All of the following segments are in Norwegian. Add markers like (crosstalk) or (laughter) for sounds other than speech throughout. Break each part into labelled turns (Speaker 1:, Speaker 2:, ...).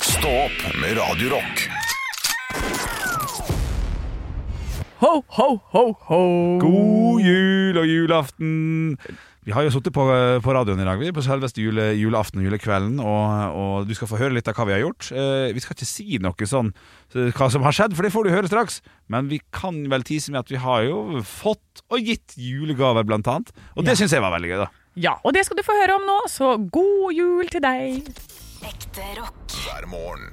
Speaker 1: Stå opp med Radio Rock.
Speaker 2: Ho, ho, ho, ho.
Speaker 3: God jul og julaften! Vi har jo sittet på, eh, på radioen i dag, vi, på selveste jule, julaften og julekvelden, og, og du skal få høre litt av hva vi har gjort. Eh, vi skal ikke si noe sånn eh, hva som har skjedd, for det får du høre straks. Men vi kan vel tise med at vi har jo fått og gitt julegaver, blant annet. Og det syns jeg var veldig gøy, da.
Speaker 2: Ja, og det skal du få høre om nå, så god jul til deg.
Speaker 4: Ekte rock.
Speaker 1: Hver morgen.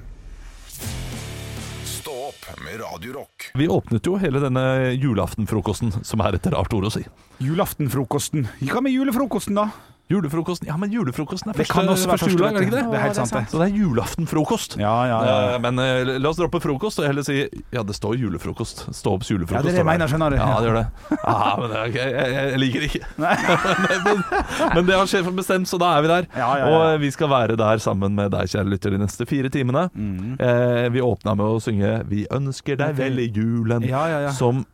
Speaker 1: Stå opp med Radio Rock.
Speaker 5: Vi åpnet jo hele denne julaftenfrokosten, som er et rart ord å si.
Speaker 3: Julaftenfrokosten. Hva med julefrokosten, da?
Speaker 5: Julefrokosten, ja, men julefrokosten er
Speaker 3: Det kan også være første
Speaker 5: juledag, er det ikke det?
Speaker 3: Det er helt sant, det.
Speaker 5: Så det er julaftenfrokost.
Speaker 3: Ja, ja, ja.
Speaker 5: Eh, Men eh, la oss droppe frokost og heller si Ja, det står julefrokost. Stå opps
Speaker 3: Ja,
Speaker 5: julefrokost.
Speaker 3: det er det jeg
Speaker 5: står
Speaker 3: mener, skjønner du.
Speaker 5: Ja, det gjør det. Ja, men det er ok. Jeg, jeg- jeg liker det ikke. men, (laughs) men det har sjefen bestemt, så da er vi der.
Speaker 3: Ja, ja, ja.
Speaker 5: Og eh, vi skal være der sammen med deg, kjære lytter, de neste fire timene.
Speaker 3: Mm.
Speaker 5: Eh, vi åpna med å synge 'Vi ønsker deg vel i julen',
Speaker 3: Ja, ja, ja.
Speaker 5: som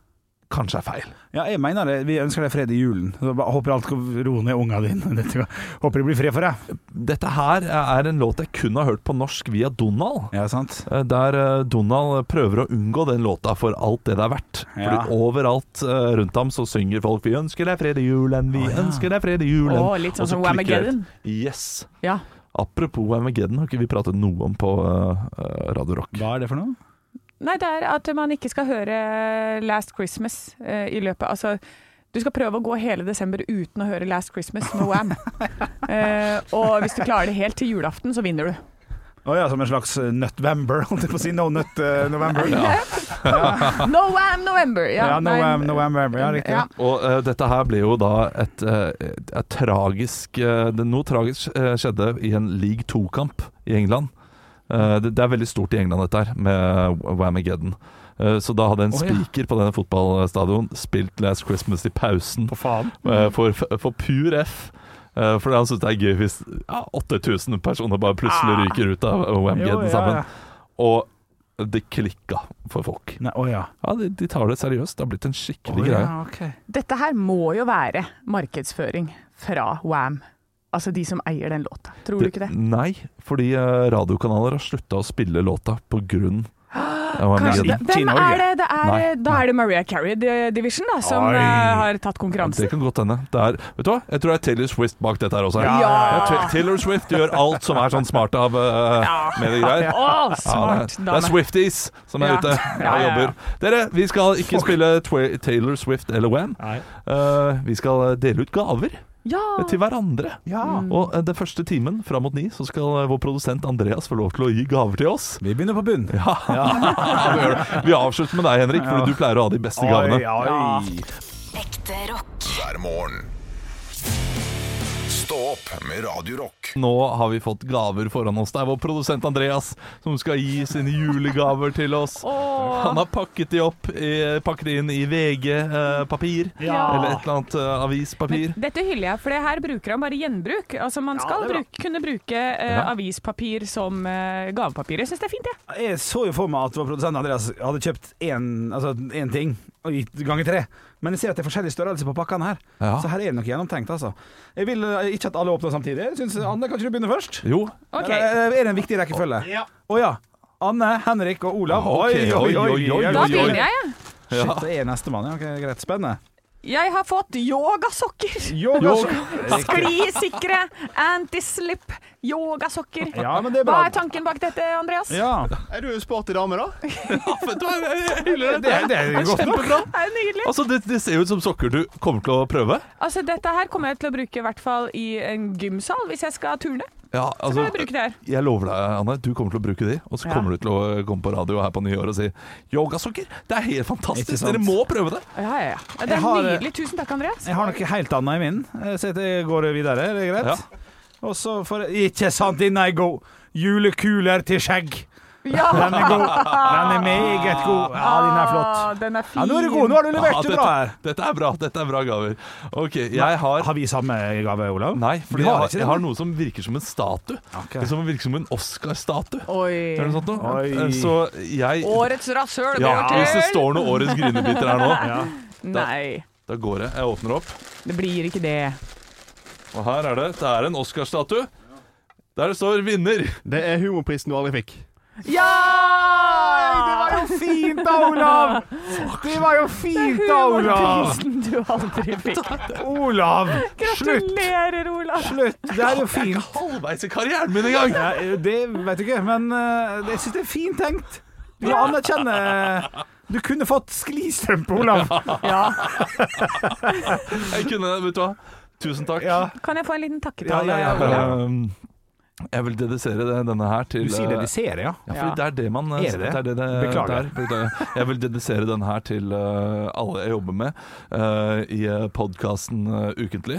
Speaker 5: kanskje er feil.
Speaker 3: Ja, jeg mener det. Vi ønsker deg fred i julen. Så bare Håper alt skal roe ned unga dine. (laughs) Dette skal- Håper det blir fred for deg.
Speaker 5: Dette her er en låt jeg kun har hørt på norsk via Donald.
Speaker 3: Ja, sant?
Speaker 5: Eh, Der eh, Donald prøver å unngå den låta for alt det det er verdt.
Speaker 3: Ja.
Speaker 5: Fordi overalt eh, rundt ham så synger folk 'Vi ønsker deg fred i julen', 'Vi ønsker deg fred i julen'.
Speaker 2: Å, litt sånn
Speaker 5: Og så
Speaker 2: som
Speaker 5: klikker det ut.
Speaker 2: Whamageddon.
Speaker 5: Yes.
Speaker 2: Ja,
Speaker 5: Apropos Whamageddon, har ikke vi pratet noe om på eh, eh, Radio Rock?
Speaker 3: Hva er det for noe?
Speaker 2: Nei, det er at man ikke skal høre Last Christmas eh, i løpet Altså, du skal prøve å gå hele desember uten å høre Last Christmas med Wham. Eh, og hvis du klarer det helt til julaften, så vinner du.
Speaker 3: Å ja, som en slags eh, Nutvember, (laughs) holdt jeg på å si. No Nut eh, November.
Speaker 2: No Wham November! Ja,
Speaker 3: Ja, no
Speaker 2: nei,
Speaker 3: Wham November. Ja, riktig.
Speaker 2: Ja.
Speaker 5: Og eh, dette her ble jo da et, eh, et, et tragisk eh, det, Noe tragisk eh, skjedde i en League 2-kamp i England. Eh, det, det er veldig stort i England, dette her, med Whamageddon. Eh, så da hadde en
Speaker 3: Å, ja.
Speaker 5: speaker på denne fotballstadion spilt Last Christmas i pausen
Speaker 3: faen.
Speaker 5: eh, for, for pur F. Eh, fordi han syns det er gøy hvis ja, 8000 personer bare plutselig ryker ut av
Speaker 3: Ah. Jo,
Speaker 5: Whamageddon
Speaker 3: ja,
Speaker 5: sammen.
Speaker 3: ja.
Speaker 5: Og det klikka for folk.
Speaker 3: Nei, å ja.
Speaker 5: Ja, de, de tar det seriøst. Det har blitt en skikkelig
Speaker 3: Å,
Speaker 5: greie.
Speaker 3: ja, ok.
Speaker 2: Dette her må jo være markedsføring fra Wham. Altså de som eier den låta. Tror du ikke det?
Speaker 5: Nei, fordi eh, radiokanaler har slutta å spille låta på grunn av
Speaker 2: Kanskje
Speaker 5: Whamageddon.
Speaker 2: det. Hvem
Speaker 3: i Norge.
Speaker 2: er det? det er,
Speaker 5: Nei,
Speaker 2: da er det Maria Carey eh, Division da, som
Speaker 3: Oi.
Speaker 2: eh, har tatt
Speaker 5: Det
Speaker 2: konkurransen.
Speaker 5: kan godt hende. Det er, vet du hva? Jeg tror det er Taylor Swift bak dette her også.
Speaker 2: Ja, ja, ja.
Speaker 3: (laughs)
Speaker 5: Jeg tror Taylor Swift gjør alt som er sånn smart av eh,
Speaker 2: Ja.
Speaker 5: mediegreier.
Speaker 2: Å,
Speaker 5: Ja,
Speaker 2: smart
Speaker 5: det, er- det
Speaker 2: dame.
Speaker 5: er Swifties som er
Speaker 2: Ja.
Speaker 5: ute
Speaker 2: Ja,
Speaker 5: og
Speaker 2: ja, ja.
Speaker 5: jobber. Dere, vi skal ikke spille Twa- Taylor Swift eller Wham. Eh, vi skal eh, dele ut gaver
Speaker 2: Ja.
Speaker 5: til hverandre. Og eh, den første timen fram mot ni så skal eh, vår produsent Andreas få lov til å gi gaver til oss.
Speaker 3: Vi begynner på bunn. Ja,
Speaker 5: (laughs) Ja, vi gjør det. Vi avslutter med deg, Henrik,
Speaker 3: Ja.
Speaker 5: for du pleier å ha de beste
Speaker 3: oi,
Speaker 5: gavene.
Speaker 2: Ja.
Speaker 3: oi.
Speaker 4: Ekte rock.
Speaker 1: Hver morgen. Stå opp med Radio Rock.
Speaker 5: Nå har vi fått gaver foran oss. Det er vår produsent Andreas som skal gi sine julegaver til oss. Han har pakket de opp, i, pakket de inn i VG-papir,
Speaker 2: Ja.
Speaker 5: eller et eller annet eh, avispapir.
Speaker 2: Dette hyller jeg, for det her bruker han bare gjenbruk. Altså Man skal
Speaker 3: det er bra.
Speaker 2: bruke, kunne bruke eh,
Speaker 5: Ja.
Speaker 2: avispapir som eh, gavepapir. Jeg syns det er fint, jeg.
Speaker 3: Jeg så jo for meg at vår produsent Andreas hadde kjøpt én altså, en ting og gitt ganger tre. Men jeg ser at det er forskjellig størrelse på pakkene her.
Speaker 5: Ja.
Speaker 3: Så her er det noe gjennomtenkt, altså. Jeg vil eh, ikke at alle åpner samtidig. Jeg synes, Anne, kan ikke du begynne først?
Speaker 5: Jo.
Speaker 2: Ok.
Speaker 3: Eller, Eh, Er det en viktig rekkefølge? Å ja. Anne, Henrik og Olav.
Speaker 5: Ok, oi, oi, oi,
Speaker 2: Da
Speaker 5: oi, oi.
Speaker 2: begynner jeg, jeg.
Speaker 3: Shit, det er nestemann. Ja, ok, greit. Spennende.
Speaker 2: Jeg har fått yogasokker.
Speaker 3: Yoga.
Speaker 2: Sklisikre antislip yogasokker.
Speaker 3: Ja, men det er
Speaker 2: Hva
Speaker 3: bra.
Speaker 2: er tanken bak dette, Andreas?
Speaker 3: Ja.
Speaker 6: Er du sporty dame,
Speaker 5: (laughs)
Speaker 6: da?
Speaker 3: Det, er- det er godt nok.
Speaker 5: Kjempebra.
Speaker 2: Det er nydelig.
Speaker 5: Altså, det, det ser jo ut som sokker du kommer til å prøve.
Speaker 2: Altså, dette her kommer jeg til å bruke i hvert fall i en gymsal hvis jeg skal turne.
Speaker 5: Ja,
Speaker 2: Så
Speaker 5: altså,
Speaker 2: kan jeg bruke det her.
Speaker 5: jeg lover deg, Anne, du kommer til å bruke de. Og så
Speaker 2: Ja.
Speaker 5: kommer du til å eh, komme på radio her på nyåret og si 'Yogasokker, det er helt
Speaker 3: Ikke
Speaker 5: fantastisk!
Speaker 3: sant?
Speaker 5: Dere må prøve det!'
Speaker 2: Ja, ja, ja. Det
Speaker 3: Jeg
Speaker 2: er
Speaker 3: har-
Speaker 2: nydelig. Tusen takk, Andreas.
Speaker 3: Jeg har noe helt annet i min, eh, så jeg går videre. Er det greit?
Speaker 5: Ja.
Speaker 3: Og så får jeg Ikke sant, inna jeg går. Julekuler til skjegg.
Speaker 2: Ja,
Speaker 3: Den er god. Den er meget god. Ja, den er flott.
Speaker 2: Ah, Den er fin.
Speaker 3: Ja, nå er du god. Nå har du
Speaker 5: Ja,
Speaker 3: levert det bra her.
Speaker 5: dette, dette er bra. Dette er bra gaver. Ok, jeg har
Speaker 3: Har vi samme gave, Olav?
Speaker 5: Nei,
Speaker 3: Du
Speaker 5: fordi jeg,
Speaker 3: ikke
Speaker 5: har,
Speaker 3: det?
Speaker 5: jeg har noe som virker som en statue.
Speaker 3: Ok.
Speaker 5: Det som virker som en Oscar-statue. Er
Speaker 2: Oi.
Speaker 3: sånn?
Speaker 5: det noe sånt noe?
Speaker 3: Oi.
Speaker 5: Eh, Så jeg
Speaker 2: Årets rasshøl
Speaker 5: ja,
Speaker 2: går
Speaker 5: Hvis det
Speaker 2: til
Speaker 5: står noe Årets grinebiter her nå,
Speaker 3: (laughs)
Speaker 2: Nei,
Speaker 5: da går jeg. Jeg åpner opp,
Speaker 2: det blir ikke det.
Speaker 5: og her er det. Det er en Oscar-statue. Der det står 'vinner'.
Speaker 6: Det er humorprisen du aldri fikk.
Speaker 2: Ja!
Speaker 3: Det
Speaker 2: Ah,
Speaker 3: var jo fint da, Olav! Det var jo fint da, Olav!
Speaker 2: Humorprisen du aldri fikk.
Speaker 3: Olav! Slutt!
Speaker 2: Gratulerer, Olav.
Speaker 3: Slutt! Det er jo fint.
Speaker 5: Halvveis i karrieren min engang!
Speaker 3: Ja, det vet jeg ikke, men eh, jeg syns det er fint tenkt. Du anerkjenner eh, Du kunne fått sklistrømpe, Olav.
Speaker 2: Ja.
Speaker 5: Jeg kunne, vet du hva. Tusen takk.
Speaker 3: Ja,
Speaker 2: Kan jeg få en liten takketale?
Speaker 3: Ja, ja, ja.
Speaker 2: Olav?
Speaker 5: Ehm, jeg vil dedisere det- denne her til
Speaker 3: du sier det
Speaker 5: eh,
Speaker 3: de ser, ja.
Speaker 5: Ja, fordi
Speaker 2: Ja.
Speaker 5: det er det man
Speaker 3: Er det det?
Speaker 5: er det,
Speaker 3: Beklager.
Speaker 5: det er. Beklager. Jeg vil dedisere den her til eh, alle jeg jobber med eh, i podkasten ukentlig.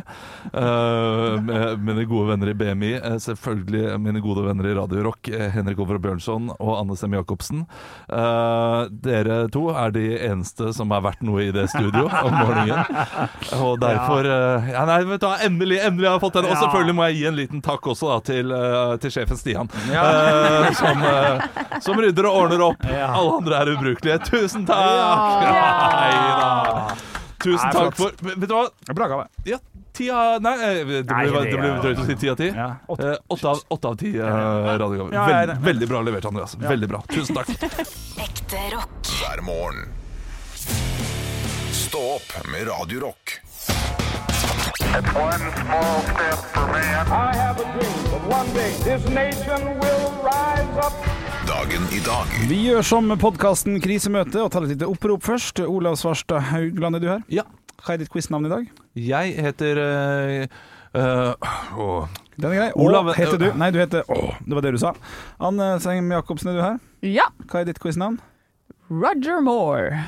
Speaker 5: Eh, med mine gode venner i BMI, eh, selvfølgelig mine gode venner i Radio Rock, eh, Henrik Over Bjørnson og Anne Sem Jacobsen. Eh, dere to er de eneste som er verdt noe i det studio
Speaker 3: (laughs)
Speaker 5: om morgenen. Og derfor eh, ja, nei, vet du, hva, Endelig endelig har jeg fått den! Og
Speaker 3: Ja.
Speaker 5: selvfølgelig må jeg gi en liten takk også da, til, eh, til sjefen Stian.
Speaker 3: Ja.
Speaker 5: Eh, som, eh, som rydder og ordner opp.
Speaker 3: Ja.
Speaker 5: Alle andre er ubrukelige. Tusen takk!
Speaker 3: Ja.
Speaker 5: Neida. Tusen
Speaker 3: Nei,
Speaker 5: takk
Speaker 3: flott.
Speaker 5: for Vet du hva?
Speaker 3: Bra gave.
Speaker 5: Ja, ti av Nei, eh, det
Speaker 3: Nei,
Speaker 5: ble,
Speaker 3: det
Speaker 5: det ble
Speaker 3: er-
Speaker 5: drøyt å si ti av ti.
Speaker 3: Ja. Åtte.
Speaker 5: Eh, Åtte av, åtte av ti eh, radiogaver.
Speaker 3: Ja, ja, ja.
Speaker 5: Veld, veldig bra levert, Andreas. Veldig bra. Tusen takk.
Speaker 4: Ekte rock.
Speaker 1: hver morgen. Stå opp med Radio Rock.
Speaker 6: One small step for man. I have a dream that one day this nation will rise up.
Speaker 1: Dagen i dag
Speaker 3: Vi gjør som podkasten Krisemøte og tar et lite opprop først. Olav Svarstad Haugland, er du her?
Speaker 5: Ja,
Speaker 3: Hva er ditt quiznavn i dag?
Speaker 5: jeg heter eh, eh, åh.
Speaker 3: Den er grei.
Speaker 5: Olav-
Speaker 3: Olav heter du. Nei, du heter Å, det var det du sa. Anne Seng Jacobsen, er du her?
Speaker 2: Ja.
Speaker 3: Hva er ditt quiznavn?
Speaker 2: Roger Moore.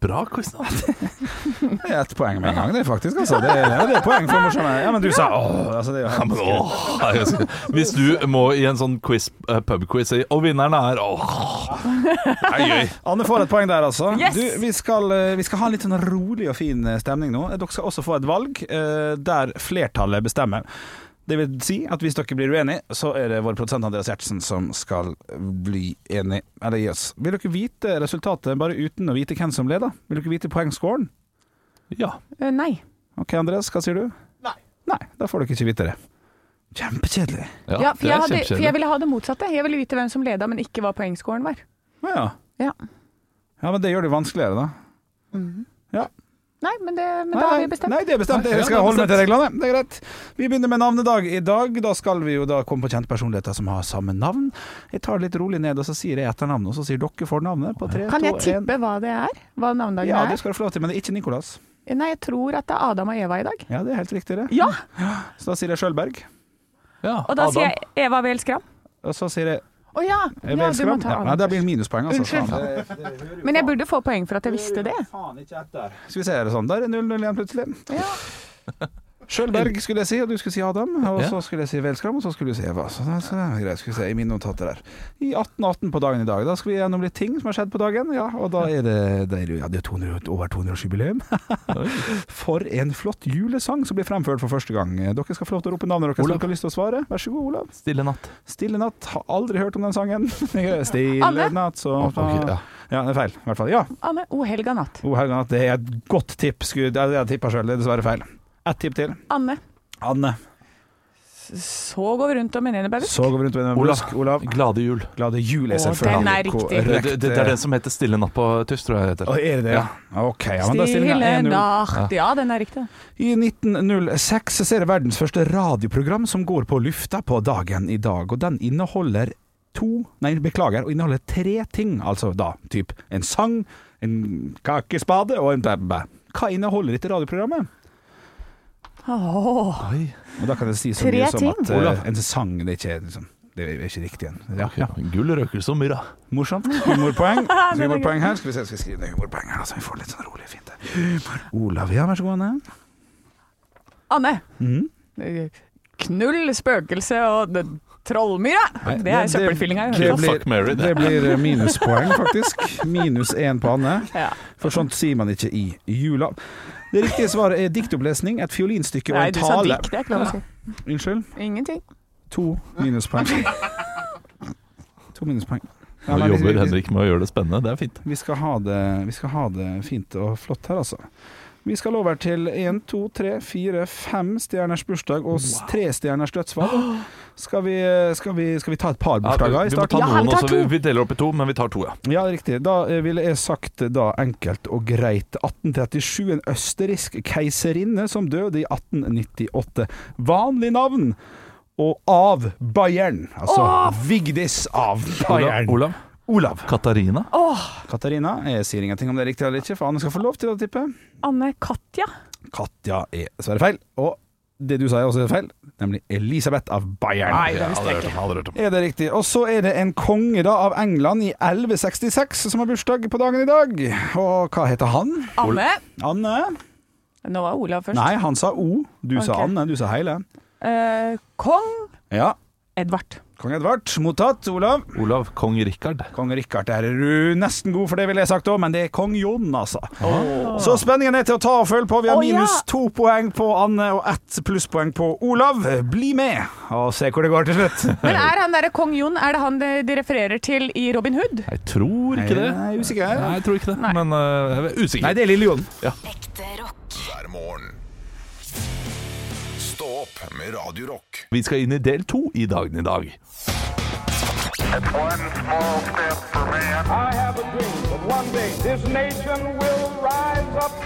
Speaker 5: Bra quiz, da.
Speaker 3: Det er ett poeng med en gang, det faktisk. Altså. Det, er, det er poeng for morsomme. Ja, men du sa Å, altså, det er jo helt
Speaker 5: Åh, jeg elsker det. Hvis du må i en sånn quiz, eh, pubquiz, si, og vinneren er Åh,
Speaker 2: (laughs)
Speaker 5: det er gøy.
Speaker 3: Anne får et poeng der, altså.
Speaker 2: Yes!
Speaker 3: Du, vi, skal, eh, vi skal ha en litt sånn rolig og fin eh, stemning nå. Dere skal også få et valg eh, der flertallet bestemmer. Det vil si at hvis dere blir uenige, så er det vår produsent Andreas Gjertsen som skal bli enig. Eller gi oss. Vil dere vite resultatet bare uten å vite hvem som leder? Vil dere vite poengscoren?
Speaker 5: Ja.
Speaker 2: Eh, Nei.
Speaker 3: OK, Andreas, hva sier du? Nei. Nei, Da får dere ikke vite det. Kjempekjedelig.
Speaker 2: Ja, for, jeg
Speaker 5: det er
Speaker 2: hadde, for
Speaker 5: kjempekjedelig.
Speaker 2: jeg ville ha det motsatte. Jeg ville vite hvem som leda, men ikke hva poengscoren var.
Speaker 3: Å ja.
Speaker 2: Ja.
Speaker 3: ja, men det gjør det vanskeligere, da.
Speaker 2: Nei, men, det, men da har vi bestemt.
Speaker 3: Nei, det er bestemt. Jeg skal holde meg til reglene. Det er greit. Vi begynner med navnedag i dag. Da skal vi jo da komme på kjente personligheter som har samme navn. Jeg tar det litt rolig ned, og så sier jeg etternavnet, og så sier dere fornavnet på tre,
Speaker 2: Kan jeg
Speaker 3: to, en.
Speaker 2: tippe hva det er? Hva navnedagen
Speaker 3: Ja, det
Speaker 2: er?
Speaker 3: skal du få lov til, men det er ikke Nikolas.
Speaker 2: Nei, jeg tror at det er Adam og Eva i dag.
Speaker 3: Ja, det er helt riktig, det.
Speaker 2: Ja,
Speaker 3: Så da sier jeg Sjølberg.
Speaker 5: Ja,
Speaker 2: og da
Speaker 5: Adam.
Speaker 2: sier jeg Eva Wehl Skram.
Speaker 3: Og så sier jeg
Speaker 2: Å ja. ja,
Speaker 3: jeg
Speaker 2: du må
Speaker 3: Velskram.
Speaker 2: ta
Speaker 3: Ja, nei,
Speaker 2: Adam.
Speaker 3: det blir minuspoeng, altså.
Speaker 2: Unnskyld.
Speaker 3: Faen, det-
Speaker 2: Men jeg burde få poeng for at jeg visste det.
Speaker 3: Faen, ikke etter. Skal vi se, er det sånn? Der er 0-0 igjen plutselig.
Speaker 2: Ja.
Speaker 3: Sjølberg skulle jeg si, og du skulle si Adam. Og
Speaker 5: Ja.
Speaker 3: så skulle jeg si Velskram, og så skulle du si Eva. Så det så det er greit, skal vi se, i mine notater der. I 1818 på dagen i dag. Da skal vi gjennom litt ting som har skjedd på dagen. Ja, og da er det, det, er, jo- ja, det er 200, over 200-årsjubileum. (laughs) for en flott julesang som blir fremført for første gang. Dere skal få lov til å rope navnet deres hvis
Speaker 5: Olav.
Speaker 3: dere har lyst til å svare. Vær så god, Olav.
Speaker 5: Stille natt.
Speaker 3: Stille natt. Har aldri hørt om den sangen. (laughs) Stille
Speaker 2: Alle?
Speaker 3: natt, så
Speaker 5: Ok, ja.
Speaker 3: Ja, det er feil, i hvert fall. Ja.
Speaker 2: Anne O. Helga Natt.
Speaker 3: O. Haugan, at det er et godt tips. Gud, jeg, jeg tippa sjøl, det er dessverre feil. Ett tipp til.
Speaker 2: Anne.
Speaker 3: Anne.
Speaker 2: Så går vi rundt om en enebærbusk.
Speaker 3: Så går vi rundt med en
Speaker 5: Olav.
Speaker 3: busk. Olav.
Speaker 5: Glade jul.
Speaker 3: Glade jul er
Speaker 2: Å,
Speaker 3: selvfølgelig
Speaker 2: den er riktig.
Speaker 5: Det,
Speaker 3: korrekt.
Speaker 5: det, det er den som heter Stille natt på tysk, tror jeg det
Speaker 3: Å,
Speaker 5: heter.
Speaker 3: eh, er det det, ja? Ok, ja, men da stiller
Speaker 2: Stille
Speaker 3: jeg 1-0.
Speaker 2: natt. Ja, den er riktig.
Speaker 3: I 1906 så er det verdens første radioprogram som går på lufta på dagen i dag, og den inneholder to, nei beklager, og inneholder tre ting, altså da, typ en sang, en kakespade og en bæ-bæ. Hva inneholder dette radioprogrammet?
Speaker 2: Åh.
Speaker 5: Oi.
Speaker 3: Og da kan jeg si så
Speaker 2: Tre
Speaker 3: mye som
Speaker 2: ting?
Speaker 3: at eh,
Speaker 5: Olav.
Speaker 3: en sang, det er ikke, liksom, det er ikke riktig igjen. Ja, ja.
Speaker 5: Gull, røkelse og myrra.
Speaker 3: Morsomt.
Speaker 2: (laughs)
Speaker 3: Humorpoeng. Humorpoeng her. Skal vi se, skal vi skrive ned humorpoeng her, så vi får litt sånn rolig og fint der. Humor. Olav, ja, vær så god, Anne. Mm.
Speaker 2: Anne. Knull spøkelse og d- trollmyra. Det er søppelfyllinga. i
Speaker 3: Det
Speaker 2: Hønefoss.
Speaker 3: blir,
Speaker 5: Fuck, marry, det.
Speaker 3: det blir eh, minuspoeng, faktisk. Minus én på Anne.
Speaker 2: (laughs) Ja.
Speaker 3: For sånt sier man ikke i jula. Det riktige svaret er diktopplesning, et fiolinstykke og
Speaker 2: Nei,
Speaker 3: en
Speaker 2: du sa
Speaker 3: tale.
Speaker 2: dikt. Det er ikke lov å si.
Speaker 3: Unnskyld?
Speaker 2: Ingenting.
Speaker 3: To
Speaker 2: (laughs)
Speaker 3: minuspoeng. To minuspoeng. Ja,
Speaker 5: Nå
Speaker 3: nei, vi-
Speaker 5: jobber
Speaker 3: vi-
Speaker 5: Henrik med å gjøre det spennende. Det er fint.
Speaker 3: Vi skal, ha det, vi skal ha det fint og flott her, altså. Vi skal over til én, to, tre, fire, fem stjerners bursdag og s- tre stjerners dødsfall. Skal vi, skal vi, skal vi ta et par
Speaker 5: Ja, vi,
Speaker 3: bursdager i
Speaker 5: vi må
Speaker 3: starten?
Speaker 5: ta
Speaker 2: Ja, vi
Speaker 5: noen
Speaker 2: tar
Speaker 5: også. Vi,
Speaker 2: to.
Speaker 5: vi deler opp i to, men vi tar to, ja.
Speaker 3: Ja, riktig. Da eh, ville jeg sagt eh, da enkelt og greit 1837, en østerriksk keiserinne som døde i 1898. Vanlig navn. Og av Bayern. Altså Vigdis av Bayern.
Speaker 5: Olav?
Speaker 3: Olav.
Speaker 5: Katarina?
Speaker 3: Katarina, jeg sier ingenting om det er riktig eller ikke, for Anne skal få lov til å tippe.
Speaker 2: Anne Katja.
Speaker 3: Katja er dessverre feil. Og det du sa er også feil, nemlig Elisabeth av Bayern.
Speaker 2: Nei, det visste jeg ikke.
Speaker 3: Er det riktig? Og så er det en konge da av England i 1166 som har bursdag på dagen i dag. Og hva heter han?
Speaker 2: Anne.
Speaker 3: Anne?
Speaker 2: Nå var Olav først.
Speaker 3: Nei, han sa O. Du sa
Speaker 2: Ok.
Speaker 3: Anne, du sa hele.
Speaker 2: Eh, Kong
Speaker 3: Ja.
Speaker 2: Edvard.
Speaker 3: Kong Edvard, mottatt. Olav.
Speaker 5: Olav kong Rikard.
Speaker 3: Kong Rikard, der er du nesten god for det, ville jeg sagt òg, men det er kong Jon, altså. Så spenningen er til å ta og føle på. Vi har
Speaker 2: Å, ja.
Speaker 3: minus to poeng på Anne og ett plusspoeng på Olav. Bli med og se hvor det går til slutt.
Speaker 2: Men er han derre kong Jon, er det han de, de refererer til i Robin Hood?
Speaker 5: Jeg tror ikke det.
Speaker 3: Jeg er usikker.
Speaker 5: Nei, jeg tror ikke det,
Speaker 2: Nei.
Speaker 5: men øh, jeg er usikker.
Speaker 3: Nei, det er Lille Jon.
Speaker 4: Ekte rock.
Speaker 1: hver morgen. Stå opp med Radio Rock.
Speaker 5: Vi skal inn i del to i dagen i dag.
Speaker 6: It's one small step for man. I have a dream that one day this nation will rise up.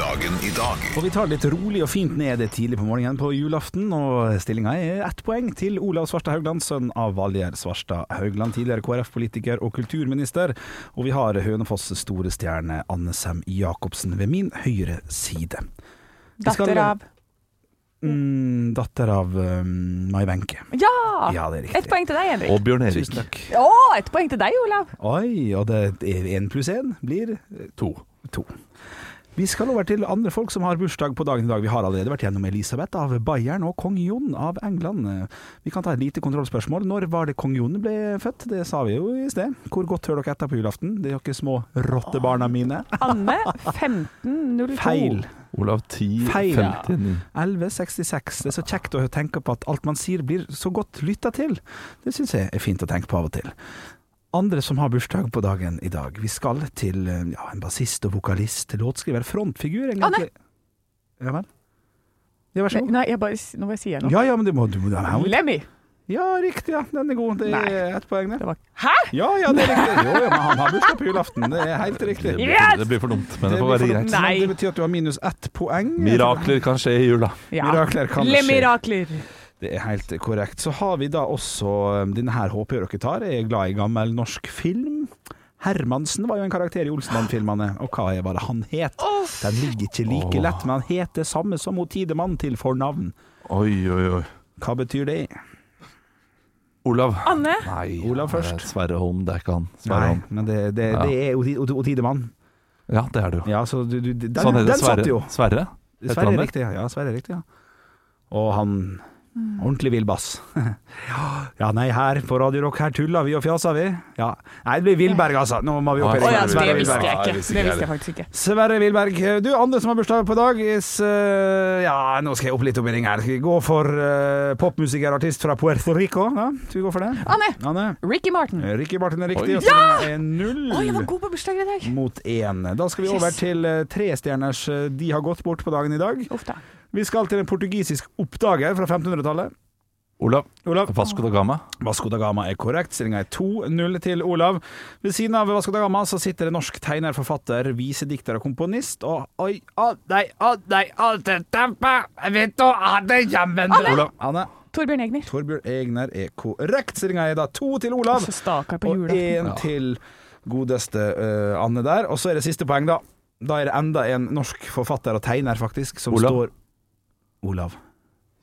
Speaker 1: Dagen i dag
Speaker 3: Og vi tar det litt rolig og fint ned det tidlig på morgenen på julaften, og stillinga er ett poeng til Olav Svarstad Haugland, sønn av Valgjerd Svarstad Haugland, tidligere KrF-politiker og kulturminister. Og vi har Hønefoss' store stjerne Anne Sem Jacobsen ved min høyre side. skal-
Speaker 2: Datter av
Speaker 3: Mm, datter av um, Mai Wenche.
Speaker 2: Ja!
Speaker 3: Ja, det er riktig.
Speaker 2: Ett poeng til deg, Henrik.
Speaker 5: Og Bjørn Erik.
Speaker 3: Tusen takk.
Speaker 2: Å, ett poeng til deg, Olav.
Speaker 3: Oi, og det er én pluss én blir
Speaker 5: To.
Speaker 3: to. Vi skal over til andre folk som har bursdag på dagen i dag. Vi har allerede vært gjennom Elisabeth av Bayern og kong Jon av England. Vi kan ta et lite kontrollspørsmål. Når var det kong Jon ble født? Det sa vi jo i sted. Hvor godt hører dere etter på julaften? Det er dere små rottebarna mine. (laughs)
Speaker 2: Anne 1502.
Speaker 3: Feil.
Speaker 5: Oh, Olav 10,
Speaker 3: Feil, ja.
Speaker 5: 59.
Speaker 3: 1166. Det er så kjekt å tenke på at alt man sier blir så godt lytta til. Det syns jeg er fint å tenke på av og til. Andre som har bursdag på dagen i dag. Vi skal til eh, ja, en bassist og vokalist, låtskriver, frontfigur egentlig. Ja vel? Ja, vær så
Speaker 2: Nei,
Speaker 3: god.
Speaker 2: nei, jeg bare, nå bare sier jeg noe.
Speaker 3: Ja, ja, men du må, du må ja, men-
Speaker 2: Lemmy.
Speaker 3: ja, riktig, ja. Den er god. Det
Speaker 2: Nei.
Speaker 3: er ett poeng,
Speaker 2: Det
Speaker 3: det.
Speaker 2: var Hæ?!
Speaker 3: Ja, ja, det er riktig. Jo, ja, men han har bursdag på julaften. Det er helt
Speaker 5: Det
Speaker 3: riktig.
Speaker 5: blir,
Speaker 2: Yes!
Speaker 5: det blir for dumt, men det,
Speaker 3: blir
Speaker 5: får være
Speaker 3: for-
Speaker 5: greit.
Speaker 2: Nei.
Speaker 3: Det betyr at du har minus ett poeng.
Speaker 5: Mirakler kan skje i jula.
Speaker 2: Ja.
Speaker 3: Mirakler kan det skje.
Speaker 2: Lemmy-rakler.
Speaker 3: Det er helt korrekt. Så har vi da også um, Denne her håper jeg dere tar. Jeg er glad i gammel norsk film. Hermansen var jo en karakter i Olsenband-filmene. Og hva er- var det han het? Den ligger ikke like lett, men han het det samme som hun Tidemann til fornavn.
Speaker 5: Oi, oi, oi.
Speaker 3: Hva betyr det?
Speaker 5: Olav.
Speaker 2: Anne.
Speaker 5: Nei,
Speaker 3: Olav
Speaker 5: det er
Speaker 3: først.
Speaker 5: Sverre Holm, det er ikke han. Sverre
Speaker 3: Nei,
Speaker 5: Holm.
Speaker 3: men det, det,
Speaker 5: Ja.
Speaker 3: det er O- O- O- Tidemann.
Speaker 5: Ja, det er det jo.
Speaker 3: Ja, så du, du, den,
Speaker 5: Sånn
Speaker 3: den
Speaker 5: heter det.
Speaker 3: satt jo.
Speaker 5: Sverre. Sverre? Heter
Speaker 3: Sverre
Speaker 5: han
Speaker 3: er
Speaker 5: det?
Speaker 3: riktig, ja. ja. Sverre er riktig, ja. Og han ordentlig vill bass. (laughs) ja, ja, nei, her på Radio Rock, her tuller vi og fjaser vi. Ja. Nei, det blir Villberg, altså. Nå må vi opp i
Speaker 5: Å,
Speaker 2: Å ja,
Speaker 5: ja,
Speaker 2: det
Speaker 3: Sverre
Speaker 2: visste
Speaker 3: Wilberg.
Speaker 2: jeg
Speaker 5: Ja,
Speaker 2: ikke.
Speaker 5: jeg visste
Speaker 2: Det
Speaker 5: ikke
Speaker 2: visste jeg faktisk ikke.
Speaker 3: Sverre Wilberg. Du, andre som har bursdag på dag, is eh, Ja, nå skal jeg opp litt opp i ring her. Skal vi gå for eh, popmusiker og artist fra Puerto Rico? Ja, skal vi gå for det?
Speaker 2: Anne.
Speaker 3: Anne.
Speaker 2: Ricky Martin. Å,
Speaker 3: Ricky Barton er riktig,
Speaker 5: Oi.
Speaker 3: og så er null
Speaker 2: jeg var god på bursdager i dag.
Speaker 3: mot én. Da skal vi over
Speaker 2: Yes.
Speaker 3: til eh, trestjerners eh, De har gått bort på dagen i dag.
Speaker 2: Uff da.
Speaker 3: Vi skal til en portugisisk oppdager fra 1500-tallet.
Speaker 5: Olav.
Speaker 3: Olav.
Speaker 5: Vasco da Gama.
Speaker 3: Vasco da Gama er korrekt. Stillinga er 2-0 til Olav. Ved siden av Vasco da Gama så sitter det norsk tegner, forfatter, visedikter og komponist og Oi, å nei, å nei, alt er tempa! Jeg vet da, ha det jammen Olav. Anne.
Speaker 2: Torbjørn Egner.
Speaker 3: Torbjørn Egner er korrekt. Stillinga er da to til Olav.
Speaker 2: Så stakkar på
Speaker 3: Og
Speaker 2: julaften.
Speaker 3: én til godeste eh, Anne der. Og så er det siste poeng, da. Da er det enda en norsk forfatter og tegner, faktisk, som
Speaker 5: Olav.
Speaker 3: står Olav.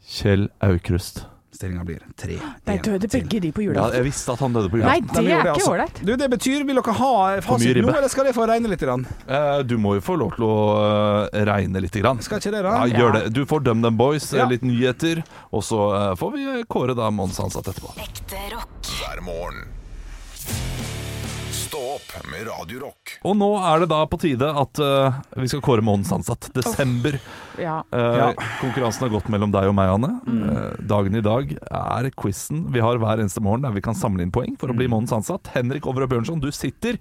Speaker 5: Kjell Aukrust.
Speaker 3: Stillinga blir 3-1.
Speaker 2: De døde begge de på
Speaker 5: Ja,
Speaker 2: julaften.
Speaker 5: jeg visste at han døde på
Speaker 2: Nei,
Speaker 5: julaften.
Speaker 2: det
Speaker 3: vi gjør
Speaker 2: er
Speaker 3: det,
Speaker 2: ikke
Speaker 3: altså.
Speaker 2: ålreit.
Speaker 3: Du, det betyr, Vil dere ha
Speaker 5: mye
Speaker 3: fasit
Speaker 5: ribbe.
Speaker 3: nå, eller skal jeg få regne litt? Grann?
Speaker 5: Eh, Du må jo få lov til å eh, regne litt. Grann.
Speaker 3: Skal ikke det, da?
Speaker 5: Ja,
Speaker 3: Ja,
Speaker 5: gjør det. Du får Dum Dum Boys, eh,
Speaker 3: Ja.
Speaker 5: litt nyheter, og så eh, får vi eh, kåre da Mons ansatt etterpå.
Speaker 4: Ekte rock.
Speaker 1: hver morgen. Stå opp med Radio Rock. rock.
Speaker 5: Og nå er det da på tide at eh, vi skal kåre månedens ansatt. Desember.
Speaker 2: Ja.
Speaker 5: Eh, Konkurransen har gått mellom deg og meg, Anne. Eh, dagen i dag er quizen vi har hver eneste morgen der vi kan samle inn poeng for å bli månedens ansatt. Henrik Overø Bjørnson, du sitter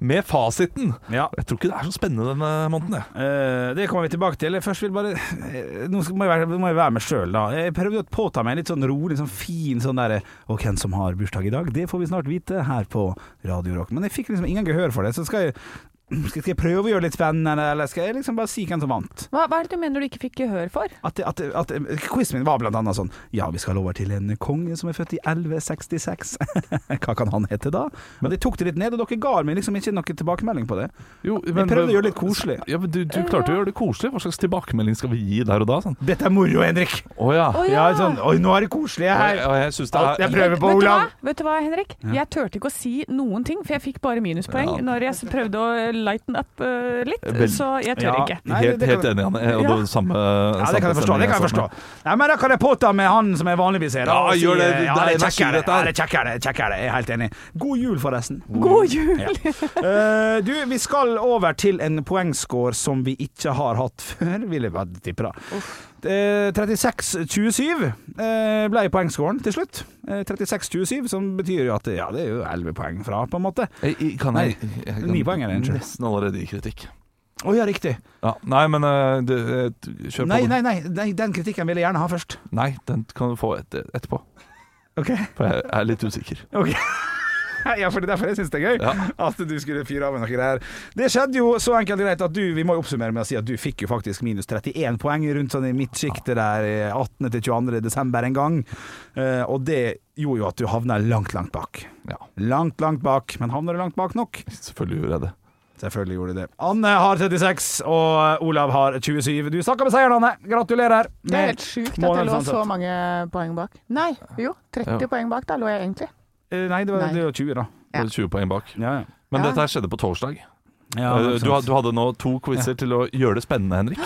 Speaker 5: med fasiten.
Speaker 3: Ja.
Speaker 5: Jeg tror ikke det er så spennende denne måneden, jeg.
Speaker 3: Eh, det kommer vi tilbake til. Jeg Først vil bare eh, Nå skal- må jeg være, må jeg være med sjøl, da. Jeg prøvde å påta meg en litt sånn rolig, sånn fin sånn derre Og hvem som har bursdag i dag? Det får vi snart vite her på Radio Rock. Men jeg fikk liksom ingen gehør for det, så skal jeg skal skal jeg prøve å gjøre det litt spennende, eller skal jeg liksom bare si hvem som vant?
Speaker 2: Hva, hva er det du mener du ikke fikk gehør for?
Speaker 3: At, at, at Quizen min var blant annet sånn Ja, vi skal over til en konge som er født i 1166. (laughs) Hva kan han hete da? Men de tok det litt ned, og dere ga meg liksom ikke noen tilbakemelding på det.
Speaker 5: Jo,
Speaker 3: Jeg prøvde å gjøre det litt koselig.
Speaker 5: Ja, men du, du klarte å gjøre det koselig. Hva slags tilbakemelding skal vi gi der og da? Sånn.
Speaker 3: Dette er moro, Henrik!
Speaker 5: Å ja.
Speaker 2: Å
Speaker 3: Ja, sånn, Oi, nå er det koselig
Speaker 5: Og
Speaker 3: her!
Speaker 5: jeg, og jeg synes det er
Speaker 3: Jeg prøver på
Speaker 2: vet, du hva?
Speaker 3: Olav!
Speaker 2: vet du hva, Henrik? Jeg turte ikke å si noen ting, for jeg fikk bare minuspoeng
Speaker 5: Ja.
Speaker 2: når jeg s- prøvde å lighten up eh, litt.
Speaker 5: Vel-
Speaker 2: Så jeg tør
Speaker 3: Ja.
Speaker 2: ikke.
Speaker 3: Nei,
Speaker 5: helt,
Speaker 3: det kan-
Speaker 5: helt enig, Anne. Og det
Speaker 2: Ja.
Speaker 5: var samme altså.
Speaker 3: Ja, det kan jeg forstå. det kan jeg forstå Nei, Men da kan jeg påta med han som jeg vanligvis er. da,
Speaker 5: Ja,
Speaker 3: og si,
Speaker 5: gjør det.
Speaker 3: Ja,
Speaker 5: Det er
Speaker 3: det er
Speaker 5: energi,
Speaker 3: kjekkere.
Speaker 5: dette
Speaker 3: Ja,
Speaker 5: her.
Speaker 3: det er kjekkere. kjekkere. Jeg er helt enig. God jul, forresten.
Speaker 2: God jul!
Speaker 3: Eh, du, vi skal over til en poengscore som vi ikke har hatt (laughs) før, vil jeg bare tippe. da. Eh, 36-27 eh, ble poengscoren til slutt. Eh, 36-27, som betyr jo at ja, det er jo 11 poeng fra, på en måte. Å
Speaker 5: Jeg, jeg- kan jeg,
Speaker 3: Nei,
Speaker 5: jeg kan
Speaker 3: ni poeng er det, unnskyld.
Speaker 5: Nesten allerede i kritikk.
Speaker 3: ja, riktig.
Speaker 5: Ja, nei, men eh, du, eh, t- kjør på.
Speaker 3: Nei,
Speaker 5: du.
Speaker 3: nei, nei, nei, den kritikken vil jeg gjerne ha først.
Speaker 5: Nei, den kan du få etter, etterpå.
Speaker 3: Ok,
Speaker 5: For jeg er litt usikker.
Speaker 3: ok. (laughs) Ja, for det er derfor jeg syns det er gøy
Speaker 5: Ja.
Speaker 3: at du skulle fyre av med noe greier. Det skjedde jo så enkelt og greit at du Vi må jo oppsummere med å si at du fikk jo faktisk minus 31 poeng rundt sånn i midtsjiktet der eh, 18. til 22. desember en gang. Eh, og det gjorde jo at du havna langt, langt bak.
Speaker 5: Ja,
Speaker 3: Langt, langt bak. Men havner du langt bak nok?
Speaker 5: selvfølgelig gjorde jeg det.
Speaker 3: Selvfølgelig gjorde du det. Anne har 36, og eh, Olav har 27. Du snakker med seieren, Anne. Gratulerer.
Speaker 2: Det er helt sjukt at jeg lå så mange poeng bak. Nei, jo, 30
Speaker 5: Ja.
Speaker 2: poeng bak da lå jeg egentlig.
Speaker 3: Eh, Nei, det var,
Speaker 2: Nei.
Speaker 3: det var 20, da.
Speaker 5: Det var 20 poeng bak.
Speaker 3: Ja, ja.
Speaker 5: Men
Speaker 2: Ja.
Speaker 5: dette her skjedde på torsdag.
Speaker 3: ja
Speaker 5: Eh, du, had- du hadde nå to quizer til å gjøre det spennende,
Speaker 3: (gasps)
Speaker 5: Henrik.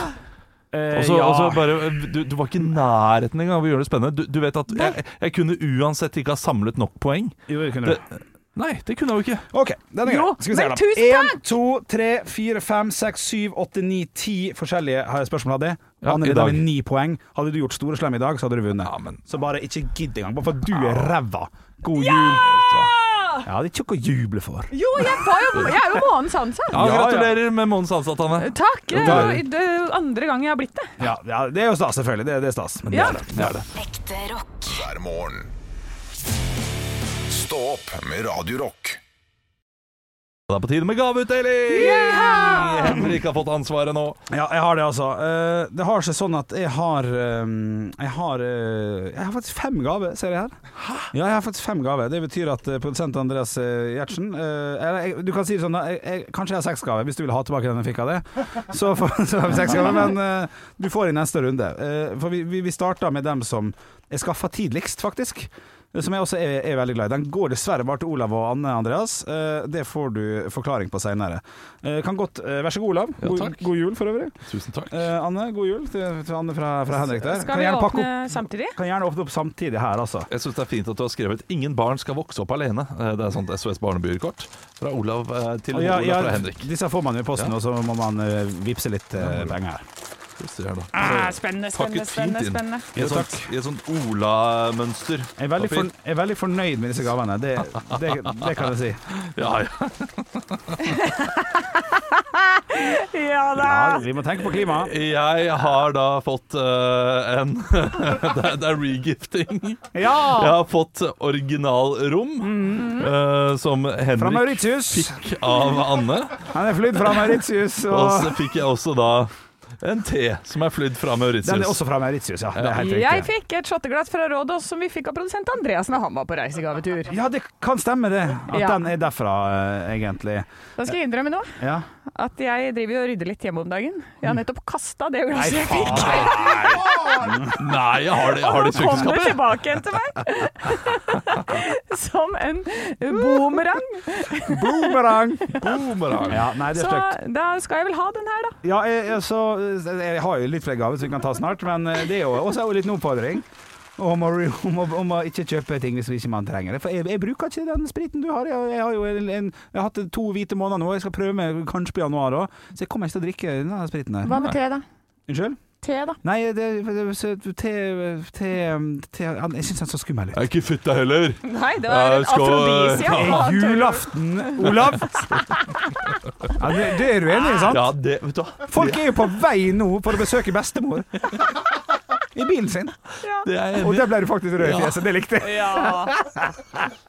Speaker 5: Og så
Speaker 3: ja.
Speaker 5: og så bare eh, du, du var ikke i nærheten engang av å gjøre det spennende. Du, du vet at jeg, jeg kunne uansett ikke ha samlet nok poeng.
Speaker 3: Jo, det kunne
Speaker 5: Det,
Speaker 3: du.
Speaker 5: nei, det kunne jeg jo ikke.
Speaker 3: OK, den er grei.
Speaker 2: Jo,
Speaker 3: Skal vi se
Speaker 2: men
Speaker 3: her,
Speaker 2: tusen
Speaker 3: da. 1, 2, 3, 4, 5, 6, 7, 8, 9, 10 forskjellige har jeg spørsmål av det.
Speaker 5: Ja,
Speaker 3: Anne
Speaker 5: i
Speaker 3: leder
Speaker 5: dag.
Speaker 3: med 9 poeng. Hadde du gjort store slem i dag, så hadde du vunnet.
Speaker 5: Ja, men-
Speaker 3: Så bare ikke gidd engang, bare for at du er ræva. God jul. Ja, det er ikke noe å juble for.
Speaker 2: Jo, jeg, var jo, jeg er jo månedens ansatt!
Speaker 5: Ja,
Speaker 3: Ja, ja.
Speaker 5: gratulerer med månedens ansatt, Anne.
Speaker 2: Takk! Det er jo det er jo andre gang jeg har blitt det.
Speaker 3: Ja, ja, det er jo stas, selvfølgelig. Det, det er stas. Men det
Speaker 2: Ja.
Speaker 3: er det. det er det.
Speaker 4: Ekte rock.
Speaker 1: hver morgen. Stå opp med Radio Rock.
Speaker 5: Det er på tide med gaveutdeling! Henrik har fått ansvaret nå.
Speaker 3: Ja, jeg har det altså. Eh, det har seg sånn at jeg har ehm, Jeg har eh, Jeg har faktisk fem gaver, ser jeg her. Ja, jeg har faktisk fem gaver. Det betyr at eh, produsent Andreas eh, Gjertsen eh, eller, jeg, Du kan si det sånn, da, jeg, jeg, kanskje jeg har seks gaver, hvis du vil ha tilbake den jeg fikk av det. Så, (laughs) får- så har vi seks gaver, men eh, du får i neste runde. Eh, for vi, vi, vi starta med dem som jeg skaffa tidligst, faktisk. Eh, Som jeg også er, er veldig glad i. Den går dessverre bare til Olav og Anne Andreas. Eh, det får du forklaring på seinere. kan godt eh, Vær så god, Olav.
Speaker 5: Ja,
Speaker 3: God,
Speaker 5: takk.
Speaker 3: god jul, for øvrig.
Speaker 5: Tusen takk.
Speaker 3: Eh, Anne, god jul til, til Anne fra, fra Henrik der.
Speaker 2: Skal
Speaker 3: Kan
Speaker 2: vi
Speaker 3: gjerne, pakke
Speaker 2: åpne samtidig?
Speaker 3: opp, kan gjerne åpne opp samtidig her, altså.
Speaker 5: Jeg syns det er fint at du har skrevet 'Ingen barn skal vokse opp alene'. Eh, Det er sånt SOS Barnebyer-kort fra Olav eh, til
Speaker 3: Ja,
Speaker 5: Olav
Speaker 3: ja,
Speaker 5: fra Henrik.
Speaker 3: disse får man jo i posten,
Speaker 5: Ja.
Speaker 3: og så må man eh, vippse litt eh, penger her.
Speaker 5: Skal vi se her da.
Speaker 2: Ah, spennende, spennende,
Speaker 5: Pakket fint
Speaker 2: spennende.
Speaker 5: inn.
Speaker 2: spennende.
Speaker 5: I et
Speaker 3: Jo, takk.
Speaker 5: sånt, i et sånt Ola-mønster.
Speaker 3: Jeg er, veldig forn-
Speaker 5: Papir.
Speaker 3: jeg er veldig fornøyd med disse gavene, det, det, det kan jeg si.
Speaker 5: Ja, ja.
Speaker 2: (laughs) Ja da!
Speaker 3: Ja, vi må tenke på klimaet.
Speaker 5: Jeg har da fått eh, en (laughs) det, er, det er regifting. Jeg
Speaker 3: Ja! Mm.
Speaker 5: har fått originalrom, eh, som
Speaker 3: Fra
Speaker 5: Henrik
Speaker 3: Mauritius.
Speaker 5: fikk av Anne.
Speaker 3: (laughs) Han er flydd fra
Speaker 5: (laughs)
Speaker 3: Mauritius.
Speaker 5: Og så
Speaker 3: Og
Speaker 5: fikk jeg også da en te som er flydd fra Mauritius.
Speaker 3: den er også fra Mauritius, ja. Det er helt
Speaker 2: Jeg
Speaker 3: riktig.
Speaker 2: fikk et shotteglass fra Rådås som vi fikk av produsent Andreassen da han var på reisegavetur.
Speaker 3: Ja, det kan stemme, det. At
Speaker 2: Ja.
Speaker 3: den er derfra, eh, egentlig.
Speaker 2: Da skal jeg innrømme noe.
Speaker 3: Ja.
Speaker 2: At jeg driver jo og rydder litt hjemme om dagen. Jeg har nettopp kasta det glasset jeg fikk. (laughs)
Speaker 5: Nei, jeg har det, jeg har
Speaker 2: Nå kom
Speaker 5: det i
Speaker 2: det
Speaker 5: kjøleskapet.
Speaker 2: tilbake igjen til meg. Som en boomerang.
Speaker 3: Boomerang!
Speaker 5: Boomerang.
Speaker 3: Ja, nei, det er
Speaker 2: Så
Speaker 3: stygt.
Speaker 2: da skal jeg vel ha den her, da.
Speaker 3: Ja, eh, jeg, jeg, så, jeg har jo litt flere gaver som vi kan ta snart, men det er jo også en liten oppfordring. Og om å, om, å, om å ikke kjøpe ting hvis ikke man trenger det. For jeg, jeg bruker ikke den spriten du har. Jeg, jeg har jo en, en, jeg har hatt to hvite måneder nå, jeg skal prøve med kanskje på januar òg. Så jeg kommer ikke til å drikke denne spriten der.
Speaker 2: Hva med te, da?
Speaker 3: Unnskyld?
Speaker 2: Te, da.
Speaker 3: Nei, det, det, så- te, te, te han- Jeg syns han er så skummel ut.
Speaker 5: er ikke fitta heller.
Speaker 2: Nei, det
Speaker 5: var Ja, en skal- afrodisia.
Speaker 3: Er julaften, Olav? Ja, det, det er du enig i, sant?
Speaker 5: Ja, det, vet du hva?
Speaker 3: Folk er jo på vei nå for å besøke bestemor. I bilen sin.
Speaker 5: Det er jeg
Speaker 3: Og
Speaker 5: enig.
Speaker 3: der ble du faktisk rød i
Speaker 5: Ja.
Speaker 3: fjeset. Det likte jeg.
Speaker 2: Ja.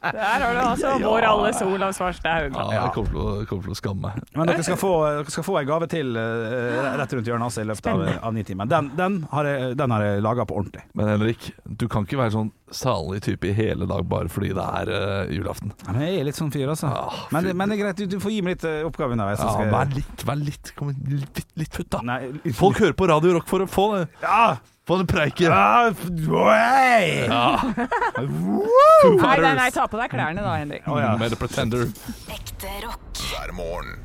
Speaker 2: Der har du altså vår alles Olav Svarstad
Speaker 5: Ja,
Speaker 2: Haug.
Speaker 5: jeg kommer til å, kommer til å skamme meg.
Speaker 3: Men dere skal få, eh, dere skal få en gave til eh, rett rundt hjørnet altså, i løpet av, av ni timer. Den, den har jeg, den har jeg laga på ordentlig.
Speaker 5: Men Henrik, du kan ikke være sånn salig type i hele dag bare fordi det er eh, julaften.
Speaker 3: Ja, men jeg er litt sånn fyr, altså.
Speaker 5: Ah,
Speaker 3: men,
Speaker 5: fy-
Speaker 3: men det er greit, du, du får gi meg litt eh, oppgave underveis. så
Speaker 5: Ja,
Speaker 3: skal jeg-
Speaker 5: vær litt, vær litt, kom, igjen, litt, litt futt, da.
Speaker 3: Nei, ut- (laughs)
Speaker 5: Folk hører på Radio Rock for å få det.
Speaker 3: Ja!
Speaker 5: Få den preiken.
Speaker 3: Ja, Ah, f- oi!
Speaker 5: Foo
Speaker 2: Nei, nei,
Speaker 5: Fighters.
Speaker 2: nei, ta på deg klærne da, Henrik.
Speaker 3: Å, ja.
Speaker 5: Mm, Med The Pretender.
Speaker 4: Ekte rock.
Speaker 1: hver morgen.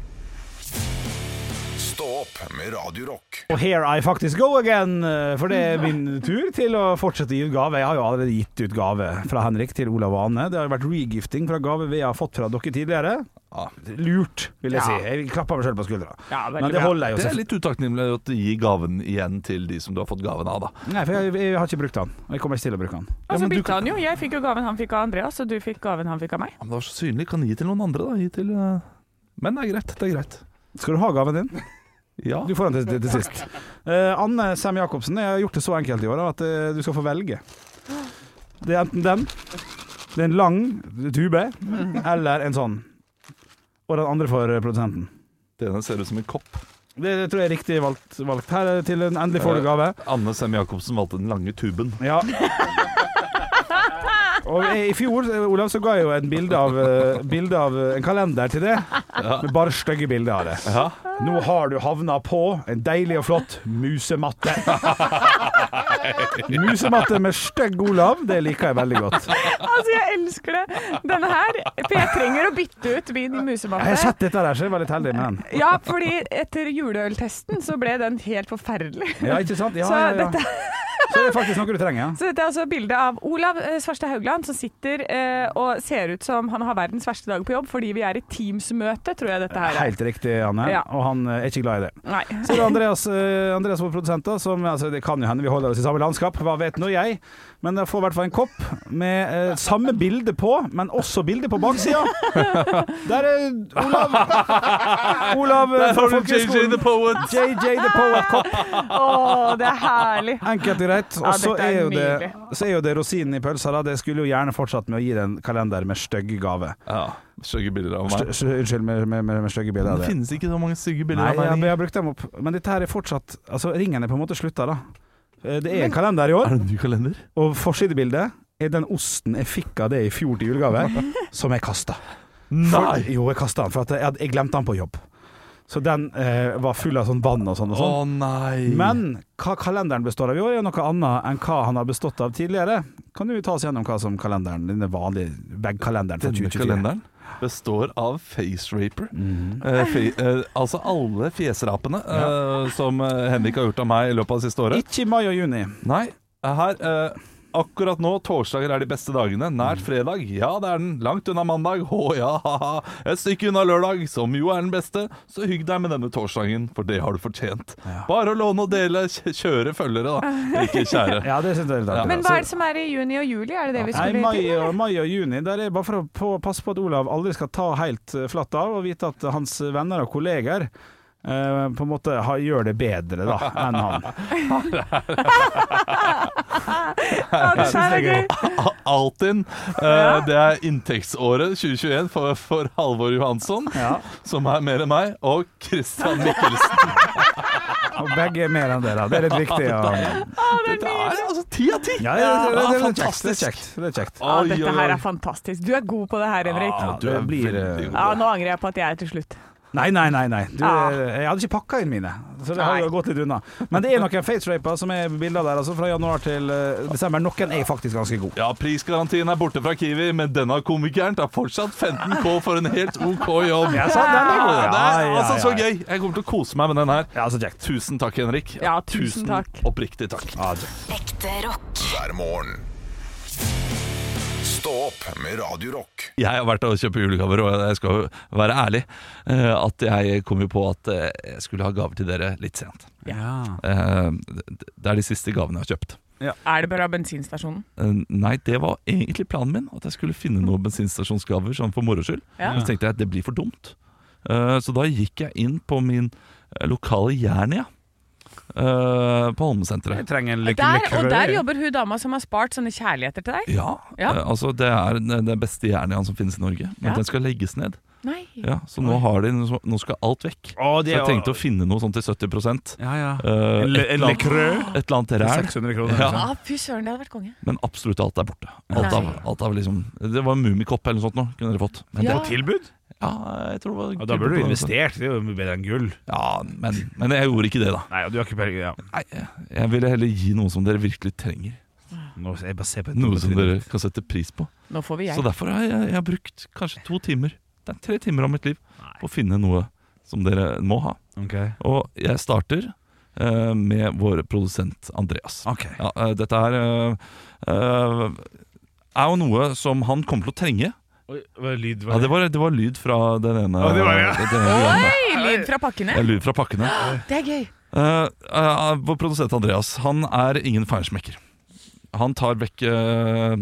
Speaker 1: Stå opp med Radio Rock.
Speaker 3: Og here I faktisk go again, eh, for det er min tur til å fortsette å gi ut gave. Jeg har jo allerede gitt ut gave fra Henrik til Olav og Anne. Det har jo vært regifting fra gave vi har fått fra dere tidligere.
Speaker 5: Ja.
Speaker 3: Lurt, vil jeg
Speaker 2: Ja.
Speaker 3: si. Jeg klapper meg selv på skuldra.
Speaker 2: Ja, veldig
Speaker 3: Men det
Speaker 2: bra.
Speaker 3: holder jeg jo
Speaker 5: Det er
Speaker 3: selvfølgelig.
Speaker 5: litt utakknemlig at du gir gaven igjen til de som du har fått gaven av, da.
Speaker 3: Nei, for jeg, jeg har ikke brukt den. Og jeg kommer ikke til å bruke den.
Speaker 2: Og så
Speaker 5: men du
Speaker 2: bytta han jo. Jeg fikk jo gaven han fikk av Andreas, og du fikk gaven han fikk av meg.
Speaker 5: Ja, Men det var så synlig. Kan gi til noen andre, da. Gi til eh, Men det er greit. Det er greit.
Speaker 3: Skal du ha gaven din?
Speaker 5: Ja.
Speaker 3: Du får den til, til sist. Eh, Anne Sem Jacobsen, jeg har gjort det så enkelt i år at eh, du skal få velge. Det er enten den, det er en lang tube, eller en sånn. Og den andre for produsenten.
Speaker 5: Denne ser ut som en kopp.
Speaker 3: Det tror jeg er riktig valgt. valgt. Her er til en endelig får du gave.
Speaker 5: Anne Sem Jacobsen valgte den lange tuben.
Speaker 3: Ja. Og i fjor eh, Olav, så ga jeg jo et bilde av, eh, bilde av eh, en kalender til det, med bare stygge bilder av det.
Speaker 5: Ja.
Speaker 3: Nå har du havna på en deilig og flott musematte. musematte med stygg Olav, det liker jeg veldig godt.
Speaker 2: Altså, jeg elsker det. Denne her. For jeg trenger å bytte ut min musematte.
Speaker 3: Jeg har sett dette der, så jeg var litt heldig med den.
Speaker 2: Ja, fordi etter juleøltesten så ble den helt forferdelig.
Speaker 3: Ja, ikke sant? Ja,
Speaker 2: Så
Speaker 3: ja, ja.
Speaker 2: dette-
Speaker 3: Så det er faktisk noe du trenger,
Speaker 2: (laughs)
Speaker 3: ja.
Speaker 2: Så dette er altså bildet av Olav eh, Svarstad Haugland som sitter eh, og ser ut som han har verdens verste dag på jobb fordi vi er i Teams-møte, tror jeg dette her er.
Speaker 3: Helt riktig, Anne.
Speaker 2: Ja.
Speaker 3: Og han eh, er ikke glad i det.
Speaker 2: Nei.
Speaker 3: Så det er Andreas, eh, Andreas vår produsent, da, som altså, det kan jo hende vi holder oss i samme landskap, hva vet nå jeg, men jeg får i hvert fall en kopp med eh, samme bilde på, men også bilde på baksida. Der er Olav Olav eh, fra folkehøgskolen.
Speaker 5: Poet.
Speaker 3: JJ The
Speaker 2: (laughs)
Speaker 3: Poet Cop.
Speaker 2: Å, det er herlig.
Speaker 3: Enkelt og greit. Og
Speaker 2: Ja,
Speaker 3: så
Speaker 2: dette
Speaker 3: er,
Speaker 2: er
Speaker 3: jo det,
Speaker 2: nydelig.
Speaker 3: så er jo det rosinen i pølsa, da. Det skulle jo gjerne fortsatt med å gi deg en kalender med stygge gave.
Speaker 5: Ja. Stygge bilder av
Speaker 3: Stø-
Speaker 5: meg.
Speaker 3: stø- Unnskyld, med, med, med, med stygge bilder. av
Speaker 5: Det
Speaker 3: det.
Speaker 5: finnes ikke så mange stygge
Speaker 3: Nei,
Speaker 5: bilder
Speaker 3: jeg,
Speaker 5: av
Speaker 3: jeg
Speaker 5: meg.
Speaker 3: har brukt dem opp. Men dette her er fortsatt Altså, ringen er på en måte slutta, da. Eh, Det er en kalender i år.
Speaker 5: Er det en ny kalender?
Speaker 3: Og forsidebildet er den osten jeg fikk av det i fjor til julegave,
Speaker 5: (laughs)
Speaker 3: som jeg kasta. For,
Speaker 5: Nei!
Speaker 3: jo, jeg kasta den, for at jeg, hadde- jeg glemte den på jobb. Så den eh, var full av sånn vann og sånn. Og
Speaker 5: Å
Speaker 3: sånn.
Speaker 5: nei!
Speaker 3: Men hva kalenderen består av i år, er jo noe annet enn hva han har bestått av tidligere. Kan du ta oss gjennom hva som kalenderen, denne vanlige vegkalenderen for
Speaker 5: Denne
Speaker 3: 2024?
Speaker 5: kalenderen består av face raper. Eh, fe eh, altså alle fjesrapene eh, som eh, Henrik har gjort av meg i løpet av det siste året.
Speaker 3: Ikke i mai og juni.
Speaker 5: Nei, her eh, Akkurat nå, torsdager er de beste dagene. Nært fredag, ja det er den. Langt unna mandag, å ja, ha-ha. Et stykke unna lørdag, som jo er den beste. Så hygg deg med denne torsdagen, for det har du fortjent. Bare å låne og dele, kj- kjøre følgere, (laughs) da. Ikke kjære.
Speaker 3: Ja, det syns jeg er litt artig.
Speaker 2: Men hva er det som er i juni og juli? Er det det vi
Speaker 3: Nei,
Speaker 2: skulle
Speaker 3: mai
Speaker 2: til?
Speaker 3: og, mai og juni. Der er bare for å på, passe på at Olav aldri skal ta helt eh, flatt av, og vite at hans venner og kolleger eh, på en måte har, gjør det bedre da, enn han.
Speaker 2: Ja, det
Speaker 3: synes
Speaker 2: her er
Speaker 3: det er
Speaker 2: gøy.
Speaker 5: A- (laughs) Altinn. Eh, det er inntektsåret 2021 for, for Halvor Johansson,
Speaker 3: Ja.
Speaker 5: som er mer enn meg, og Christian
Speaker 2: (laughs)
Speaker 5: Mikkelsen.
Speaker 3: Og begge er mer enn det, da. Det er litt viktig. Ja.
Speaker 5: Dette er altså ti av ti!
Speaker 3: Ja, det, det, det, det, det, er kjekt, det er
Speaker 5: fantastisk.
Speaker 3: kjekt. Det er kjekt.
Speaker 2: Ja,
Speaker 5: Oi, oi,
Speaker 2: dette her
Speaker 5: oi. Ah.
Speaker 2: er fantastisk. Du er god på det her,
Speaker 5: Ja,
Speaker 2: Henrik.
Speaker 5: du
Speaker 3: det
Speaker 5: er
Speaker 3: blir,
Speaker 5: veldig god.
Speaker 2: Ja, nå angrer jeg på at jeg er til slutt.
Speaker 3: Nei, nei, nei. nei. Du, eh,
Speaker 2: Ah.
Speaker 3: jeg hadde ikke pakka inn mine, så det har
Speaker 2: Nei.
Speaker 3: jo gått litt unna. Men det er noen faceraper som er bilder der, altså, fra januar til eh, desember. Noen er faktisk ganske gode.
Speaker 5: Ja, prisgarantien er borte fra Kiwi, men denne komikeren tar fortsatt 15K for en helt OK jobb.
Speaker 3: Ja, sant, den er god.
Speaker 5: Ja, det
Speaker 3: Ja,
Speaker 5: er
Speaker 3: ja,
Speaker 5: altså så
Speaker 3: ja.
Speaker 5: gøy. Jeg kommer til å kose meg med den her.
Speaker 3: Ja, så kjekt.
Speaker 5: Tusen takk, Henrik.
Speaker 2: Ja, tusen takk.
Speaker 5: Oppriktig takk.
Speaker 3: Ja, kjekt.
Speaker 4: Ekte rock.
Speaker 1: hver morgen. Stå opp med Radio Rock.
Speaker 5: Jeg har vært og kjøpt julegaver, og jeg skal jo være ærlig eh, at jeg kom jo på at eh, jeg skulle ha gaver til dere litt sent.
Speaker 7: Ja.
Speaker 5: Eh, Det det er de siste gavene jeg har kjøpt.
Speaker 2: Er det bare bensinstasjonen?
Speaker 5: Eh, Nei, det var egentlig planen min, at jeg skulle finne noen bensinstasjonsgaver sånn for moro skyld.
Speaker 2: Ja.
Speaker 5: Men så tenkte jeg at det blir for dumt. Eh, Så da gikk jeg inn på min eh, lokale Jernia eh, på Holmesenteret.
Speaker 7: Jeg trenger en
Speaker 2: Der,
Speaker 7: lykke
Speaker 2: og der jobber hun dama som har spart sånne kjærligheter til deg.
Speaker 5: Ja,
Speaker 2: Ja.
Speaker 5: eh, altså det er den den beste jernia som finnes i Norge, men
Speaker 2: Ja.
Speaker 5: den skal legges ned.
Speaker 2: Nei.
Speaker 5: Ja, så nå, har de, nå skal alt
Speaker 7: Å,
Speaker 5: vekk. Så
Speaker 7: det er
Speaker 5: jeg
Speaker 7: jo-
Speaker 5: tenkte å finne noe sånn til 70
Speaker 7: Ja, ja. En
Speaker 5: eh, et,
Speaker 7: le- en
Speaker 5: eller annet,
Speaker 7: Lecreux?
Speaker 5: et eller annet ræl,
Speaker 7: 600 kroner.
Speaker 5: Ja.
Speaker 2: Ah, Fy søren, det hadde vært konge.
Speaker 5: men absolutt alt er borte. Alt
Speaker 2: Nei.
Speaker 5: av, alt av liksom, det var en mummikopp eller noe sånt nå, kunne dere fått. Men
Speaker 2: Ja.
Speaker 5: det,
Speaker 7: Tilbud?
Speaker 5: ja, jeg tror det var
Speaker 7: Ja, da burde du investert. Det er jo bedre enn gull.
Speaker 5: Ja, men, men jeg gjorde ikke det, da.
Speaker 7: Nei, og du har ikke penger ja.
Speaker 5: Nei, jeg ville heller gi noe som dere virkelig trenger.
Speaker 7: Nå, jeg bare ser på
Speaker 5: Noe som dere kan sette pris på.
Speaker 2: Nå får vi
Speaker 5: Så
Speaker 2: jeg.
Speaker 5: derfor har jeg, jeg har brukt kanskje to timer Det er tre timer av mitt liv På å finne noe som dere må ha
Speaker 7: Ok.
Speaker 5: Og jeg starter eh, med vår produsent Andreas
Speaker 7: Ok.
Speaker 5: ja, eh, Dette her eh, eh, Er jo noe som han kommer til å trenge
Speaker 7: Oi, hva er lyd?
Speaker 5: Ja, det var, det var lyd fra den ene
Speaker 7: Ja, det var det.
Speaker 5: den ene gangen da.
Speaker 2: Oi, lyd fra
Speaker 5: Det
Speaker 2: pakkene.
Speaker 5: er Lyd fra pakkene
Speaker 2: Det er gøy.
Speaker 5: Eh, eh, Vår produsent Andreas Han er ingen feinsmekker Han tar vekk eh,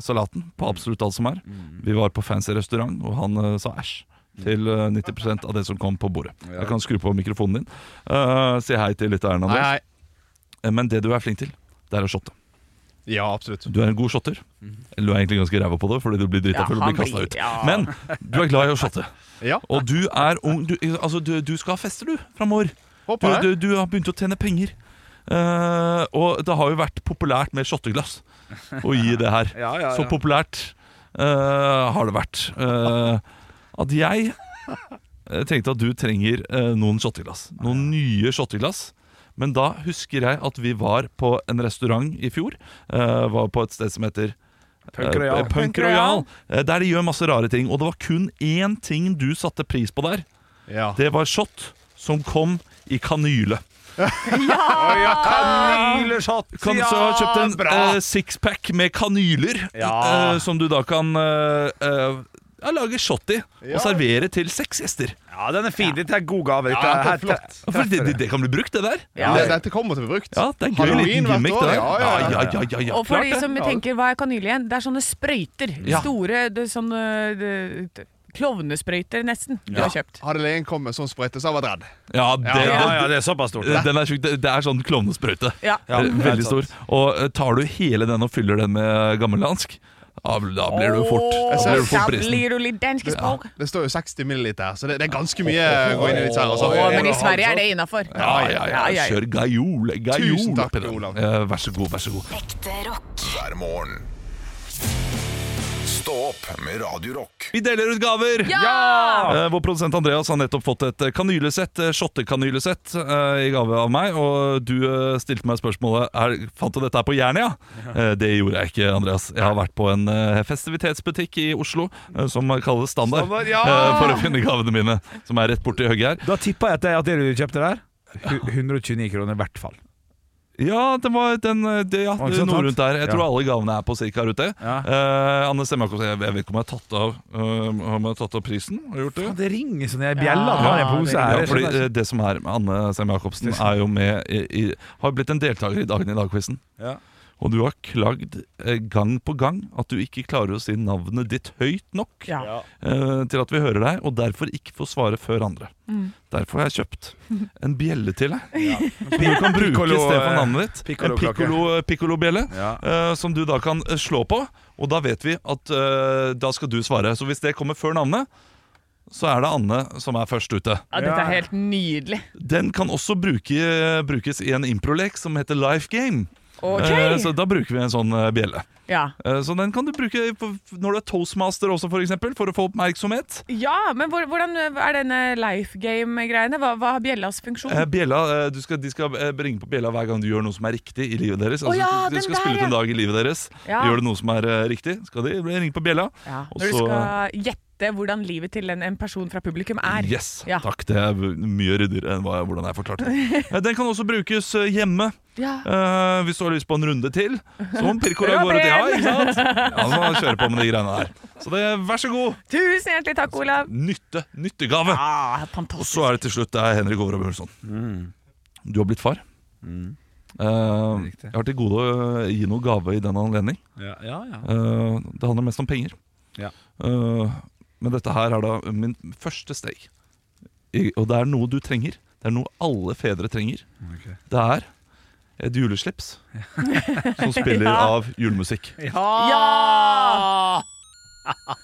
Speaker 5: salaten På absolutt alt som er Vi var på fancy restaurant Og han eh, sa æsj til eh, 90% av det som kom på bordet Jeg kan skru på mikrofonen din Eh, Si hei til litt Erna
Speaker 8: Nei, nei.
Speaker 5: Men det du er flink til, det er å shotte
Speaker 8: Ja, absolutt.
Speaker 5: Du er en god shotter Eller du er egentlig ganske ræva på det Fordi du blir drita
Speaker 2: Ja,
Speaker 5: før du
Speaker 2: han
Speaker 5: blir kastet
Speaker 2: blir-
Speaker 5: ut
Speaker 2: ja.
Speaker 5: Men du er glad i å shotte
Speaker 8: Ja.
Speaker 5: Og du er ung du, Altså du, du skal ha fester du fremover du,
Speaker 8: Håper
Speaker 5: du,
Speaker 8: det.
Speaker 5: du har begynt å tjene penger. Eh, og det har jo vært populært med shotteglass å gi det her.
Speaker 7: (laughs) Ja, ja, ja.
Speaker 5: Så populært eh, har det vært. Eh, at jeg eh, tenkte at du trenger eh, noen shotteglass. Noen nye shotteglass. Men da husker jeg at vi var på en restaurant i fjor. eh, var på et sted som heter
Speaker 7: Punk Royal.
Speaker 5: eh, Punk Royal eh, der de gjør masse rare ting. Og det var kun én ting du satte pris på der.
Speaker 8: Ja.
Speaker 5: Det var shot som kom i kanyle.
Speaker 7: Oi, ja, kanyleshot!
Speaker 5: Kan så ha kjøpt en eh, sixpack med kanyler,
Speaker 8: Ja.
Speaker 5: eh, som du da kan eh, eh, ja, lage shot i
Speaker 8: Ja.
Speaker 5: og servere til seks gjester.
Speaker 7: Ja, den er fin. Dette er god gave. Dette
Speaker 8: Ja,
Speaker 7: er
Speaker 8: det er
Speaker 7: her-
Speaker 8: flott.
Speaker 5: Ja, For det, det, det kan bli brukt, det der.
Speaker 2: Ja.
Speaker 8: Det- Dette kommer til å bli brukt.
Speaker 5: Ja, det er en gøy
Speaker 8: Halloween
Speaker 5: liten
Speaker 8: hvert
Speaker 5: gimmick,
Speaker 8: år,
Speaker 5: det der.
Speaker 8: ja, ja, ja.
Speaker 5: ja, ja, ja, ja,
Speaker 2: Og for
Speaker 5: klart
Speaker 2: de
Speaker 5: det.
Speaker 2: som tenker hva er kanyle igjen, det er sånne sprøyter.
Speaker 5: Ja.
Speaker 2: Store det, er sånne det- det- klovnesprøyter, nesten, du har kjøpt.
Speaker 8: Hadde legen kommet med sånn sprøyte, så hadde jeg vært redd.
Speaker 5: ja, det,
Speaker 8: Ja,
Speaker 7: Ja,
Speaker 5: det,
Speaker 7: ja, det er såpass stort.
Speaker 5: (laughs) Den er sjuk. Det, det er sånn klovnesprøyte.
Speaker 2: Ja.
Speaker 5: Eh, Veldig
Speaker 7: helt
Speaker 5: stor.
Speaker 7: sant.
Speaker 5: Og eh, tar du hele den og fyller den med gammeldansk, da da blir du fort, da
Speaker 2: Åh,
Speaker 5: blir
Speaker 2: da
Speaker 5: du fort brisen.
Speaker 2: blir du litt dansk i språk.
Speaker 8: Det står jo 60 milliliter her, så det, det er ganske mye å gå inn i litt her.
Speaker 2: Åh,
Speaker 8: Altså.
Speaker 2: men i Sverige er det innafor.
Speaker 5: Ja, ja, ja. Kjør gajol. gajol
Speaker 8: Tusen takk,
Speaker 5: oppi den.
Speaker 8: Olav.
Speaker 5: Eh, Vær så god, vær så god.
Speaker 4: Ekte rock.
Speaker 1: hver morgen. Stå opp med Radio Rock.
Speaker 5: Vi deler ut gaver! Eh, vår produsent Andreas har nettopp fått et eh, kanylesett, eh, shottekanylesett, eh, i gave av meg. Og du eh, stilte meg spørsmålet er, Fant du dette her på Jernia. Eh, det gjorde jeg ikke, Andreas. Jeg har vært på en eh, festivitetsbutikk i Oslo eh, som kalles Standard,
Speaker 7: Standard, ja!
Speaker 5: eh, for å finne gavene mine, som er rett borti hugget her.
Speaker 7: Da tippa jeg at det, at det du kjøpte der hu- 129 kroner i hvert fall.
Speaker 5: Ja, den var den, eh, det, ja,
Speaker 7: Var det ikke sant,
Speaker 5: noe rundt der. Jeg
Speaker 7: Ja.
Speaker 5: tror alle gavene er på cirka rundt det.
Speaker 7: Ja.
Speaker 5: Eh, Anne Stemmerkopp, jeg, jeg vet ikke om jeg har tatt av, eh, om jeg har tatt av prisen. Har jeg gjort det?
Speaker 7: Det ringer sånn i
Speaker 2: bjella.
Speaker 7: bjella. Ja,
Speaker 2: Ja,
Speaker 5: Ja,
Speaker 7: det,
Speaker 5: fordi eh, det som er med Anne Sem Jacobsen er jo med i, i, Har blitt en deltaker i Dagen i dag-quizen.
Speaker 7: Ja.
Speaker 5: Og du har klagd eh, gang på gang at du ikke klarer å si navnet ditt høyt nok
Speaker 2: Ja.
Speaker 5: eh, til at vi hører deg, og derfor ikke får svare før andre. Derfor har jeg kjøpt en bjelle til deg. Som du kan bruke
Speaker 7: Piccolo,
Speaker 5: istedenfor
Speaker 7: eh,
Speaker 5: navnet ditt. En
Speaker 7: piccolo-kake.
Speaker 5: piccolo- eh, piccolobjelle.
Speaker 7: Ja.
Speaker 5: eh, som du da kan eh, slå på, og da vet vi at eh, da skal du svare. Så hvis det kommer før navnet, så er det Anne som er først ute.
Speaker 2: Ja, dette er helt nydelig.
Speaker 5: Den kan også bruke, brukes i en improlek som heter Life Game.
Speaker 2: Ok.
Speaker 5: Eh, Så da bruker vi en sånn eh, bjelle.
Speaker 2: Ja.
Speaker 5: Eh, Så den kan du bruke på- når du er toastmaster også, for eksempel, for å få oppmerksomhet.
Speaker 2: ja, men hvor- hvordan er denne life game-greiene? Hva, hva har bjellas funksjon?
Speaker 5: Eh, Bjella, eh, du skal, De skal eh, bringe på bjella hver gang du gjør noe som er riktig i livet deres. Altså,
Speaker 2: Å ja,
Speaker 5: du
Speaker 2: den
Speaker 5: skal
Speaker 2: der,
Speaker 5: spille ut en
Speaker 2: ja.
Speaker 5: dag i livet deres.
Speaker 2: Ja.
Speaker 5: Gjør du noe som er eh, riktig, skal de ringe på bjella.
Speaker 2: Ja.
Speaker 5: og
Speaker 2: Når du
Speaker 5: så-
Speaker 2: skal gjette hvordan livet til en, en person fra publikum er.
Speaker 5: Yes,
Speaker 2: Ja.
Speaker 5: takk. Det er mye ryddigere enn hva, hvordan jeg
Speaker 2: (laughs)
Speaker 5: forklarte det. Eh, Den kan også brukes eh, hjemme.
Speaker 2: Ja.
Speaker 5: Eh, hvis du har lyst på en runde til, så må Pirkora
Speaker 2: Ja,
Speaker 5: gå ut.
Speaker 2: det
Speaker 5: Ja,
Speaker 2: igjen!
Speaker 5: ikke sant? Ja, så må man kjøre på med de greiene der. Så det, vær så god!
Speaker 2: Tusen hjertelig takk, Olav.
Speaker 5: Nytte, nyttegave!
Speaker 2: Ah,
Speaker 5: Og
Speaker 2: fantastisk.
Speaker 5: så er det til slutt det er Henrik Overhaug Bjørnson.
Speaker 7: Mm,
Speaker 5: Du har blitt far. Eh, jeg har til gode å gi noe gave i den anledning.
Speaker 9: Ja, ja, ja.
Speaker 5: Eh, det handler mest om penger.
Speaker 9: Ja.
Speaker 5: Eh, men dette her er da min første steg. I, og det er noe du trenger. Det er noe alle fedre trenger.
Speaker 9: Ok.
Speaker 5: Det er et juleslips som
Speaker 2: (laughs)
Speaker 5: spiller
Speaker 2: Ja.
Speaker 5: av julemusikk.
Speaker 2: Ja!
Speaker 7: (laughs)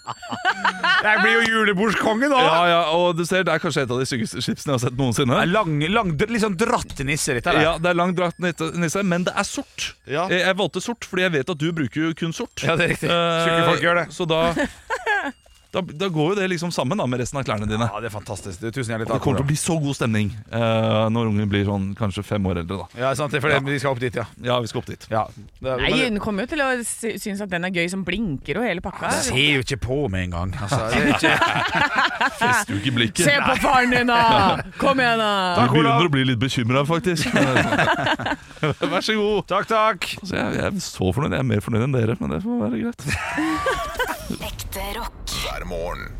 Speaker 9: Jeg blir jo julebordskonge nå!
Speaker 5: Ja, ja, og du ser, Det er kanskje et av de sykeste slipsene jeg har sett noensinne.
Speaker 9: Det er Lang, lang, d- litt sånn dratt nisse, dette der.
Speaker 5: Ja, Det er lang drakt, nisse, nisse, men det er sort. Jeg, jeg valgte sort fordi jeg vet at du bruker jo kun sort. Eh,
Speaker 9: Ja, det er riktig. Tjukke folk gjør det.
Speaker 5: Så da, da, da går jo det liksom sammen da, med resten av klærne dine.
Speaker 9: Ja, det er fantastisk. Du, tusen hjertelig
Speaker 5: Det
Speaker 9: takk.
Speaker 5: kommer til
Speaker 9: Olav.
Speaker 5: å bli så god stemning eh, når ungen blir sånn kanskje fem år eldre. da
Speaker 9: Ja, sant, det er fordi de skal opp dit, ja.
Speaker 5: Ja, vi skal opp dit.
Speaker 9: ja. Det,
Speaker 2: Nei, hun kommer jo til å sy- synes at den er gøy som blinker og hele pakka.
Speaker 9: Jeg ser jo ikke på med en gang. Altså, det er ikke...
Speaker 5: Fester jo ikke blikket.
Speaker 2: Se på faren din, da! Kom igjen, da!
Speaker 5: Jeg begynner å bli litt bekymra,
Speaker 9: (laughs)
Speaker 5: faktisk. Vær så god.
Speaker 9: Takk, takk!
Speaker 5: Så jeg, jeg er så fornøyd. Jeg er mer fornøyd enn dere, men det får være greit.
Speaker 4: Ekte rock.
Speaker 1: hver morgen.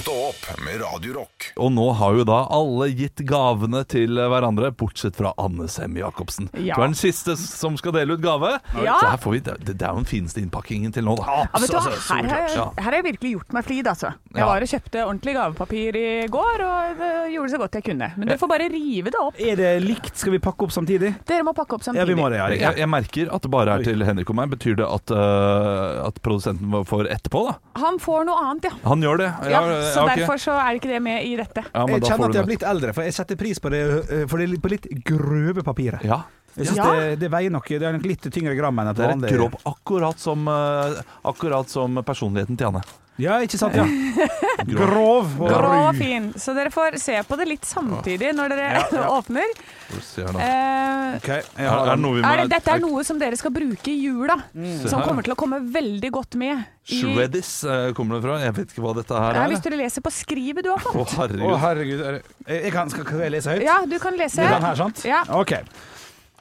Speaker 1: Stå opp med Radio Rock.
Speaker 5: Og nå har jo da alle gitt gavene til hverandre, bortsett fra Anne Sem Jacobsen.
Speaker 2: Ja.
Speaker 5: Du er den siste som skal dele ut gave.
Speaker 2: Ja.
Speaker 5: Så her får vi, det, det er jo den fineste innpakkingen til nå, da.
Speaker 2: Ja, vet du hva?
Speaker 3: Altså,
Speaker 2: Her har, jeg,
Speaker 5: Altså, Ja.
Speaker 2: her har jeg virkelig gjort meg flid, altså. Jeg
Speaker 5: Ja.
Speaker 2: var og kjøpte ordentlig gavepapir i går, og det gjorde så godt jeg kunne. Men dere får bare rive det opp.
Speaker 3: Er det likt? Skal vi pakke opp samtidig?
Speaker 2: Dere må pakke opp
Speaker 3: Ja, vi
Speaker 2: samtidig.
Speaker 3: må det, ja.
Speaker 5: Jeg,
Speaker 3: riktig.
Speaker 5: jeg merker at det bare er til Henrik og meg. Betyr det at, øh, at produsenten vår får etterpå, da?
Speaker 2: Han får noe annet, ja.
Speaker 5: Han gjør det.
Speaker 2: ja
Speaker 5: ja,
Speaker 2: så
Speaker 5: ok.
Speaker 2: derfor så er ikke det med i dette.
Speaker 5: Ja, men
Speaker 3: Jeg
Speaker 5: da
Speaker 3: kjenner
Speaker 5: får
Speaker 3: at
Speaker 5: du
Speaker 3: jeg har
Speaker 5: det.
Speaker 3: blitt eldre, for jeg setter pris på det, eh, for det er litt- på litt grøve papiret.
Speaker 5: Ja.
Speaker 3: Jeg synes
Speaker 2: Ja.
Speaker 3: det, det veier nok Det er nok litt tyngre gram enn et
Speaker 5: Det er et
Speaker 3: vanlig.
Speaker 5: grobb, akkurat som, øh, akkurat som personligheten til Anne.
Speaker 3: Ja, ikke sant? Ja. Grov. og
Speaker 2: Grå
Speaker 3: ru.
Speaker 2: og fin. Så dere får se på det litt samtidig når dere (laughs) åpner.
Speaker 5: Får du se her da.
Speaker 2: Eh,
Speaker 3: Ok, jeg
Speaker 5: Er,
Speaker 3: har
Speaker 5: er det
Speaker 3: den.
Speaker 5: noe vi må
Speaker 2: er det, dette er noe som dere skal bruke i jula, som kommer til å komme veldig godt med. I,
Speaker 5: Shreddis øh, kommer det fra. Jeg vet ikke hva dette her
Speaker 2: Nei,
Speaker 5: er.
Speaker 2: hvis dere leser på skrivet du har
Speaker 5: Å,
Speaker 2: fått.
Speaker 5: herregud.
Speaker 3: Å, herregud. er det- Jeg jeg kan, skal, skal jeg lese høyt?
Speaker 2: Ja, du kan lese.
Speaker 3: Det er den her, sant?
Speaker 2: Ja.
Speaker 3: Ok.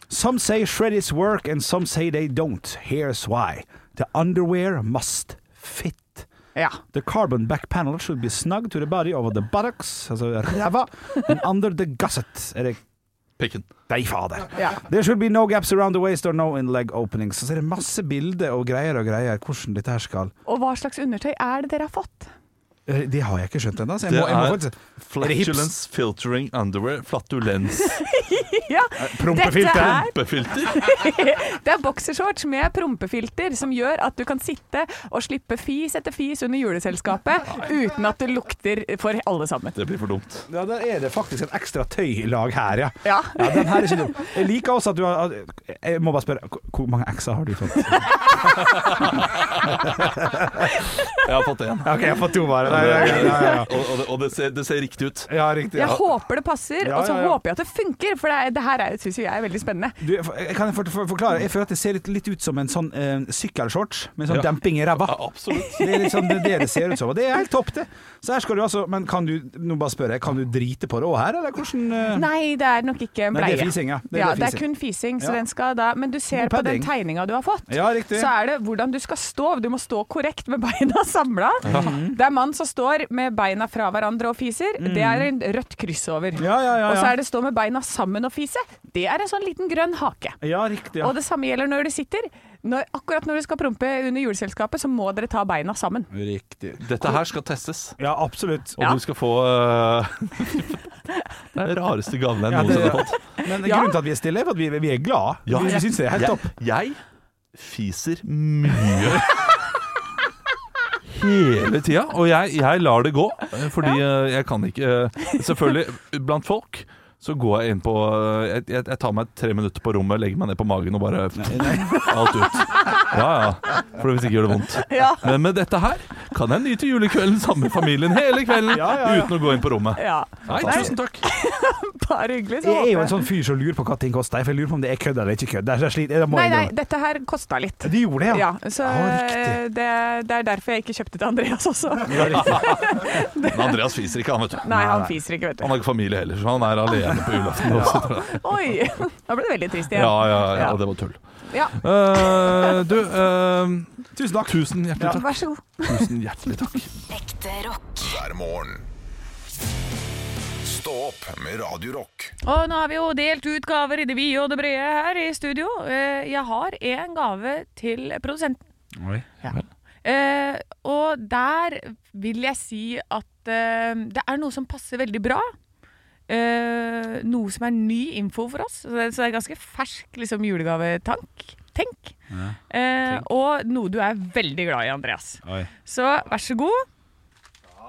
Speaker 3: Some say shred is work, and some say they don't. Here's why. The underwear must fit.
Speaker 2: Ja.
Speaker 3: The carbon back panel should be snug to the body over the buttocks, altså ræva, and under the gusset. Er det
Speaker 5: Pikken.
Speaker 3: Nei, fader.
Speaker 2: Ja.
Speaker 3: There should be no gaps around the waist or no in leg openings. Så er det masse bilder og greier og greier hvordan dette her skal
Speaker 2: Og hva slags undertøy er det dere har fått? (laughs)
Speaker 3: Eh, Det har jeg ikke skjønt ennå, så jeg
Speaker 5: Det
Speaker 3: må, jeg må
Speaker 5: er-
Speaker 3: faktisk
Speaker 5: Flatulence filtering underwear. Flatulens
Speaker 2: Ja,
Speaker 3: Prompefilter.
Speaker 2: Dette er-
Speaker 5: puppefilter.
Speaker 2: det er boksershorts med prompefilter som gjør at du kan sitte og slippe fis etter fis under juleselskapet uten at det lukter for alle sammen.
Speaker 5: Det blir for dumt.
Speaker 3: Ja, der er det faktisk et ekstra tøylag her, ja.
Speaker 2: Ja.
Speaker 3: Ja, den her er ikke dum. Jeg liker også at du har Jeg må bare spørre, hvor- hvor mange ekser har du fått?
Speaker 5: Jeg har fått én.
Speaker 3: Ok, jeg har fått to bare.
Speaker 5: Og, og, det, og det, ser, det ser riktig ut.
Speaker 3: Ja, riktig.
Speaker 2: Jeg håper det passer,
Speaker 3: Ja,
Speaker 2: og så
Speaker 3: ja, ja.
Speaker 2: håper jeg at det funker, for det, er- det her syns jeg er veldig spennende.
Speaker 3: Du, jeg kan jeg for, for, forklare? Jeg føler at det ser litt, litt ut som en sånn eh, sykkelshorts med sånn
Speaker 5: Ja.
Speaker 3: demping i ræva.
Speaker 5: Absolutt.
Speaker 3: Det er liksom det det det ser ut som, og det er helt topp, det. Så her skal du altså Men kan du Nå bare spør jeg, kan du drite på det òg her, eller hvordan eh,
Speaker 2: Nei, det er nok ikke en
Speaker 3: Nei,
Speaker 2: bleie.
Speaker 3: det er fising, ja. Det er
Speaker 2: ja,
Speaker 3: det
Speaker 2: det er
Speaker 3: fising.
Speaker 2: kun fising, så
Speaker 3: Ja.
Speaker 2: den skal da Men du ser
Speaker 3: God
Speaker 2: på den
Speaker 3: padding.
Speaker 2: tegninga du har fått.
Speaker 3: Ja, riktig.
Speaker 2: Så er det hvordan du skal stå. Du må stå korrekt med beina (laughs) samla.
Speaker 3: Mm.
Speaker 2: Det er mann som står med beina fra hverandre og fiser. Det er en rødt kryss over.
Speaker 3: Ja, ja, ja,
Speaker 2: Og så
Speaker 3: ja.
Speaker 2: er det stå med beina sammen og fise. Det er en sånn liten grønn hake.
Speaker 3: Ja, riktig. Ja.
Speaker 2: Og det samme gjelder når du sitter. Når, akkurat når du skal prompe under juleselskapet, så må dere ta beina sammen.
Speaker 3: Riktig.
Speaker 5: Dette her skal testes,
Speaker 3: Ja, absolutt.
Speaker 5: og
Speaker 2: Ja.
Speaker 5: du skal få øh, (laughs) Det er den rareste gaven jeg
Speaker 3: Ja, det-
Speaker 5: noensinne har fått.
Speaker 3: Men
Speaker 2: Ja.
Speaker 3: grunnen til at vi er stille, er for at vi, vi er glad.
Speaker 5: Ja.
Speaker 3: Vi, vi syns det er helt topp.
Speaker 5: Jeg, jeg fiser mye. Hele tida. Og jeg, jeg lar det gå, eh, fordi eh, jeg kan ikke eh, Selvfølgelig, blant folk så går jeg inn på eh, jeg, jeg, jeg tar meg tre minutter på rommet, legger meg ned på magen og bare (laughs) Alt ut. Ja, ja. For hvis ikke gjør det vondt.
Speaker 2: Ja.
Speaker 5: Men med dette her kan jeg nyte julekvelden sammen med familien hele kvelden
Speaker 3: Ja, ja, ja.
Speaker 5: uten å gå inn på rommet.
Speaker 2: Ja. (laughs)
Speaker 5: Nei, tusen takk.
Speaker 2: Bare hyggelig. Så
Speaker 7: Jeg er jo
Speaker 2: håper
Speaker 7: en sånn fyr som lurer på hva ting koster. For jeg lurer på om det er kødd eller ikke kødd. Det er så slit- det må
Speaker 2: Nei,
Speaker 7: jeg
Speaker 2: nei,
Speaker 7: innrømme.
Speaker 2: dette her kosta litt.
Speaker 7: Du gjorde det, ja?
Speaker 2: Ja, så
Speaker 7: Ja, riktig.
Speaker 2: eh, det, det er derfor jeg ikke kjøpte til Andreas også. Nei,
Speaker 5: Men Andreas fiser ikke, han vet du.
Speaker 2: han
Speaker 7: nei.
Speaker 2: fiser ikke, vet
Speaker 5: Han har ikke familie heller, så han er alene på julaften. Også, tror jeg.
Speaker 2: du. Oi! (laughs) Da ble det veldig trist
Speaker 5: Ja,
Speaker 2: igjen.
Speaker 5: ja, ja,
Speaker 2: Ja.
Speaker 5: det var tull.
Speaker 2: Ja,
Speaker 5: Eh, du, eh,
Speaker 7: Tusen takk.
Speaker 5: tusen hjertelig takk.
Speaker 2: vær så god.
Speaker 5: Tusen hjertelig takk.
Speaker 4: Ekte rock.
Speaker 1: hver morgen. Stå opp med Radio Rock.
Speaker 2: Og nå har vi jo delt ut gaver i det vide og det brede her i studio. Eh, Jeg har en gave til produsenten.
Speaker 3: Oi.
Speaker 2: Eh, og der vil jeg si at eh, det er noe som passer veldig bra. Eh, noe som er ny info for oss. Så det, så det er ganske fersk liksom, julegavetank. Tenk. Eh, og noe du er veldig glad i, Andreas.
Speaker 3: Oi.
Speaker 2: Så vær så god.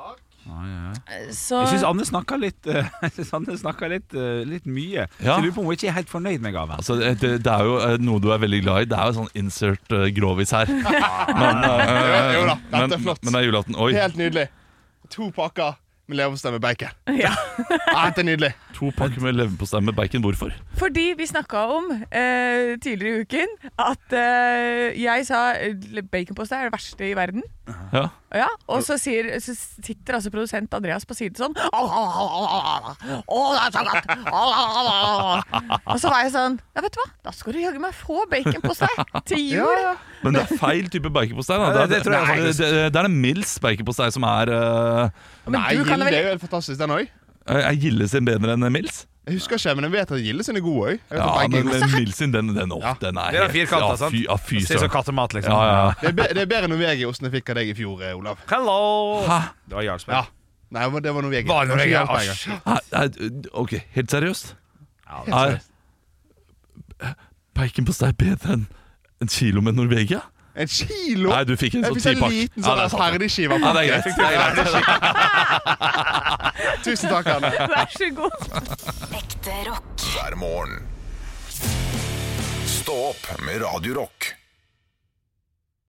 Speaker 2: Eh, Så,
Speaker 3: Jeg syns Anne snakka litt, eh, (laughs) jeg synes Anne snakka litt, eh, litt mye.
Speaker 5: Ja.
Speaker 3: Så jeg lurer på om hun ikke er helt fornøyd med gaven.
Speaker 5: Altså, det, det det er jo eh, noe du er veldig glad i. Det er jo sånn insert eh, grovis her. Men, eh,
Speaker 8: Jo da, dette er
Speaker 5: men,
Speaker 8: flott.
Speaker 5: men det er julaften. Oi,
Speaker 8: Helt nydelig. To pakker med leverpostei med bacon.
Speaker 2: (laughs) ja.
Speaker 8: Ja, dette er nydelig.
Speaker 5: to pakker med leverpostei med bacon. Hvorfor?
Speaker 2: Fordi vi snakka om eh, tidligere i uken at eh, jeg sa eh, baconpostei er det verste i verden.
Speaker 5: Ja.
Speaker 2: Ja, og så, sier, så sitter altså produsent Andreas på siden sånn «Au, au, au, au, au, au. Å, det er så godt. Au, au, au, au, au, au.» Og så var jeg sånn Ja, vet du hva, da skal du jaggu meg få baconpostei til jul.
Speaker 5: Men det er feil type baconpostei. da.
Speaker 3: Ja, det- det tror jeg
Speaker 5: Nei,
Speaker 3: faktisk.
Speaker 5: det, det er en Mills baconpostei som er eh,
Speaker 2: Men
Speaker 8: Nei,
Speaker 2: du kan
Speaker 8: Gilde
Speaker 2: da vel-
Speaker 8: er jo helt fantastisk, den òg.
Speaker 5: Er Gille sin bedre enn Mills?
Speaker 8: Jeg husker ikke, men jeg vet at Gilde sin er god òg.
Speaker 5: Ja, men men Mills sin, den, den, å,
Speaker 8: Ja.
Speaker 5: den er
Speaker 3: Det er
Speaker 5: helt-
Speaker 3: firkanta, sant?
Speaker 5: Ja, fy, ja, fy
Speaker 3: Ser ut som
Speaker 5: søren.
Speaker 3: kattemat, liksom.
Speaker 5: Ja, ja.
Speaker 8: Det er be- det er bedre Norvegia-osten jeg fikk av deg i fjor, eh, Olav.
Speaker 3: Hello! Det var Jarlsberg.
Speaker 8: Ja. Nei, men det var Norvegia.
Speaker 3: Var det Norvegia?
Speaker 8: Kanskje Jarlsberg.
Speaker 3: Å, shit.
Speaker 5: Nei, nei, Ah, Ok, helt seriøst. Ah,
Speaker 8: Helt
Speaker 5: Er
Speaker 8: seriøst.
Speaker 5: baconpostei bedre enn en kilo med Norvegia?
Speaker 8: En kilo?
Speaker 5: Nei, du fikk en
Speaker 8: jeg
Speaker 5: sånn
Speaker 8: fikk en
Speaker 5: tipakk.
Speaker 8: liten
Speaker 5: Ja,
Speaker 8: sånn
Speaker 5: det er
Speaker 8: ja,
Speaker 5: sant.
Speaker 8: herdigskive.
Speaker 5: Ja, Ah, det er greit. Det er greit.
Speaker 8: Tusen takk, Anne.
Speaker 2: (laughs) Vær så god.
Speaker 4: Ekte rock.
Speaker 1: hver morgen. Stå opp med Radio Rock.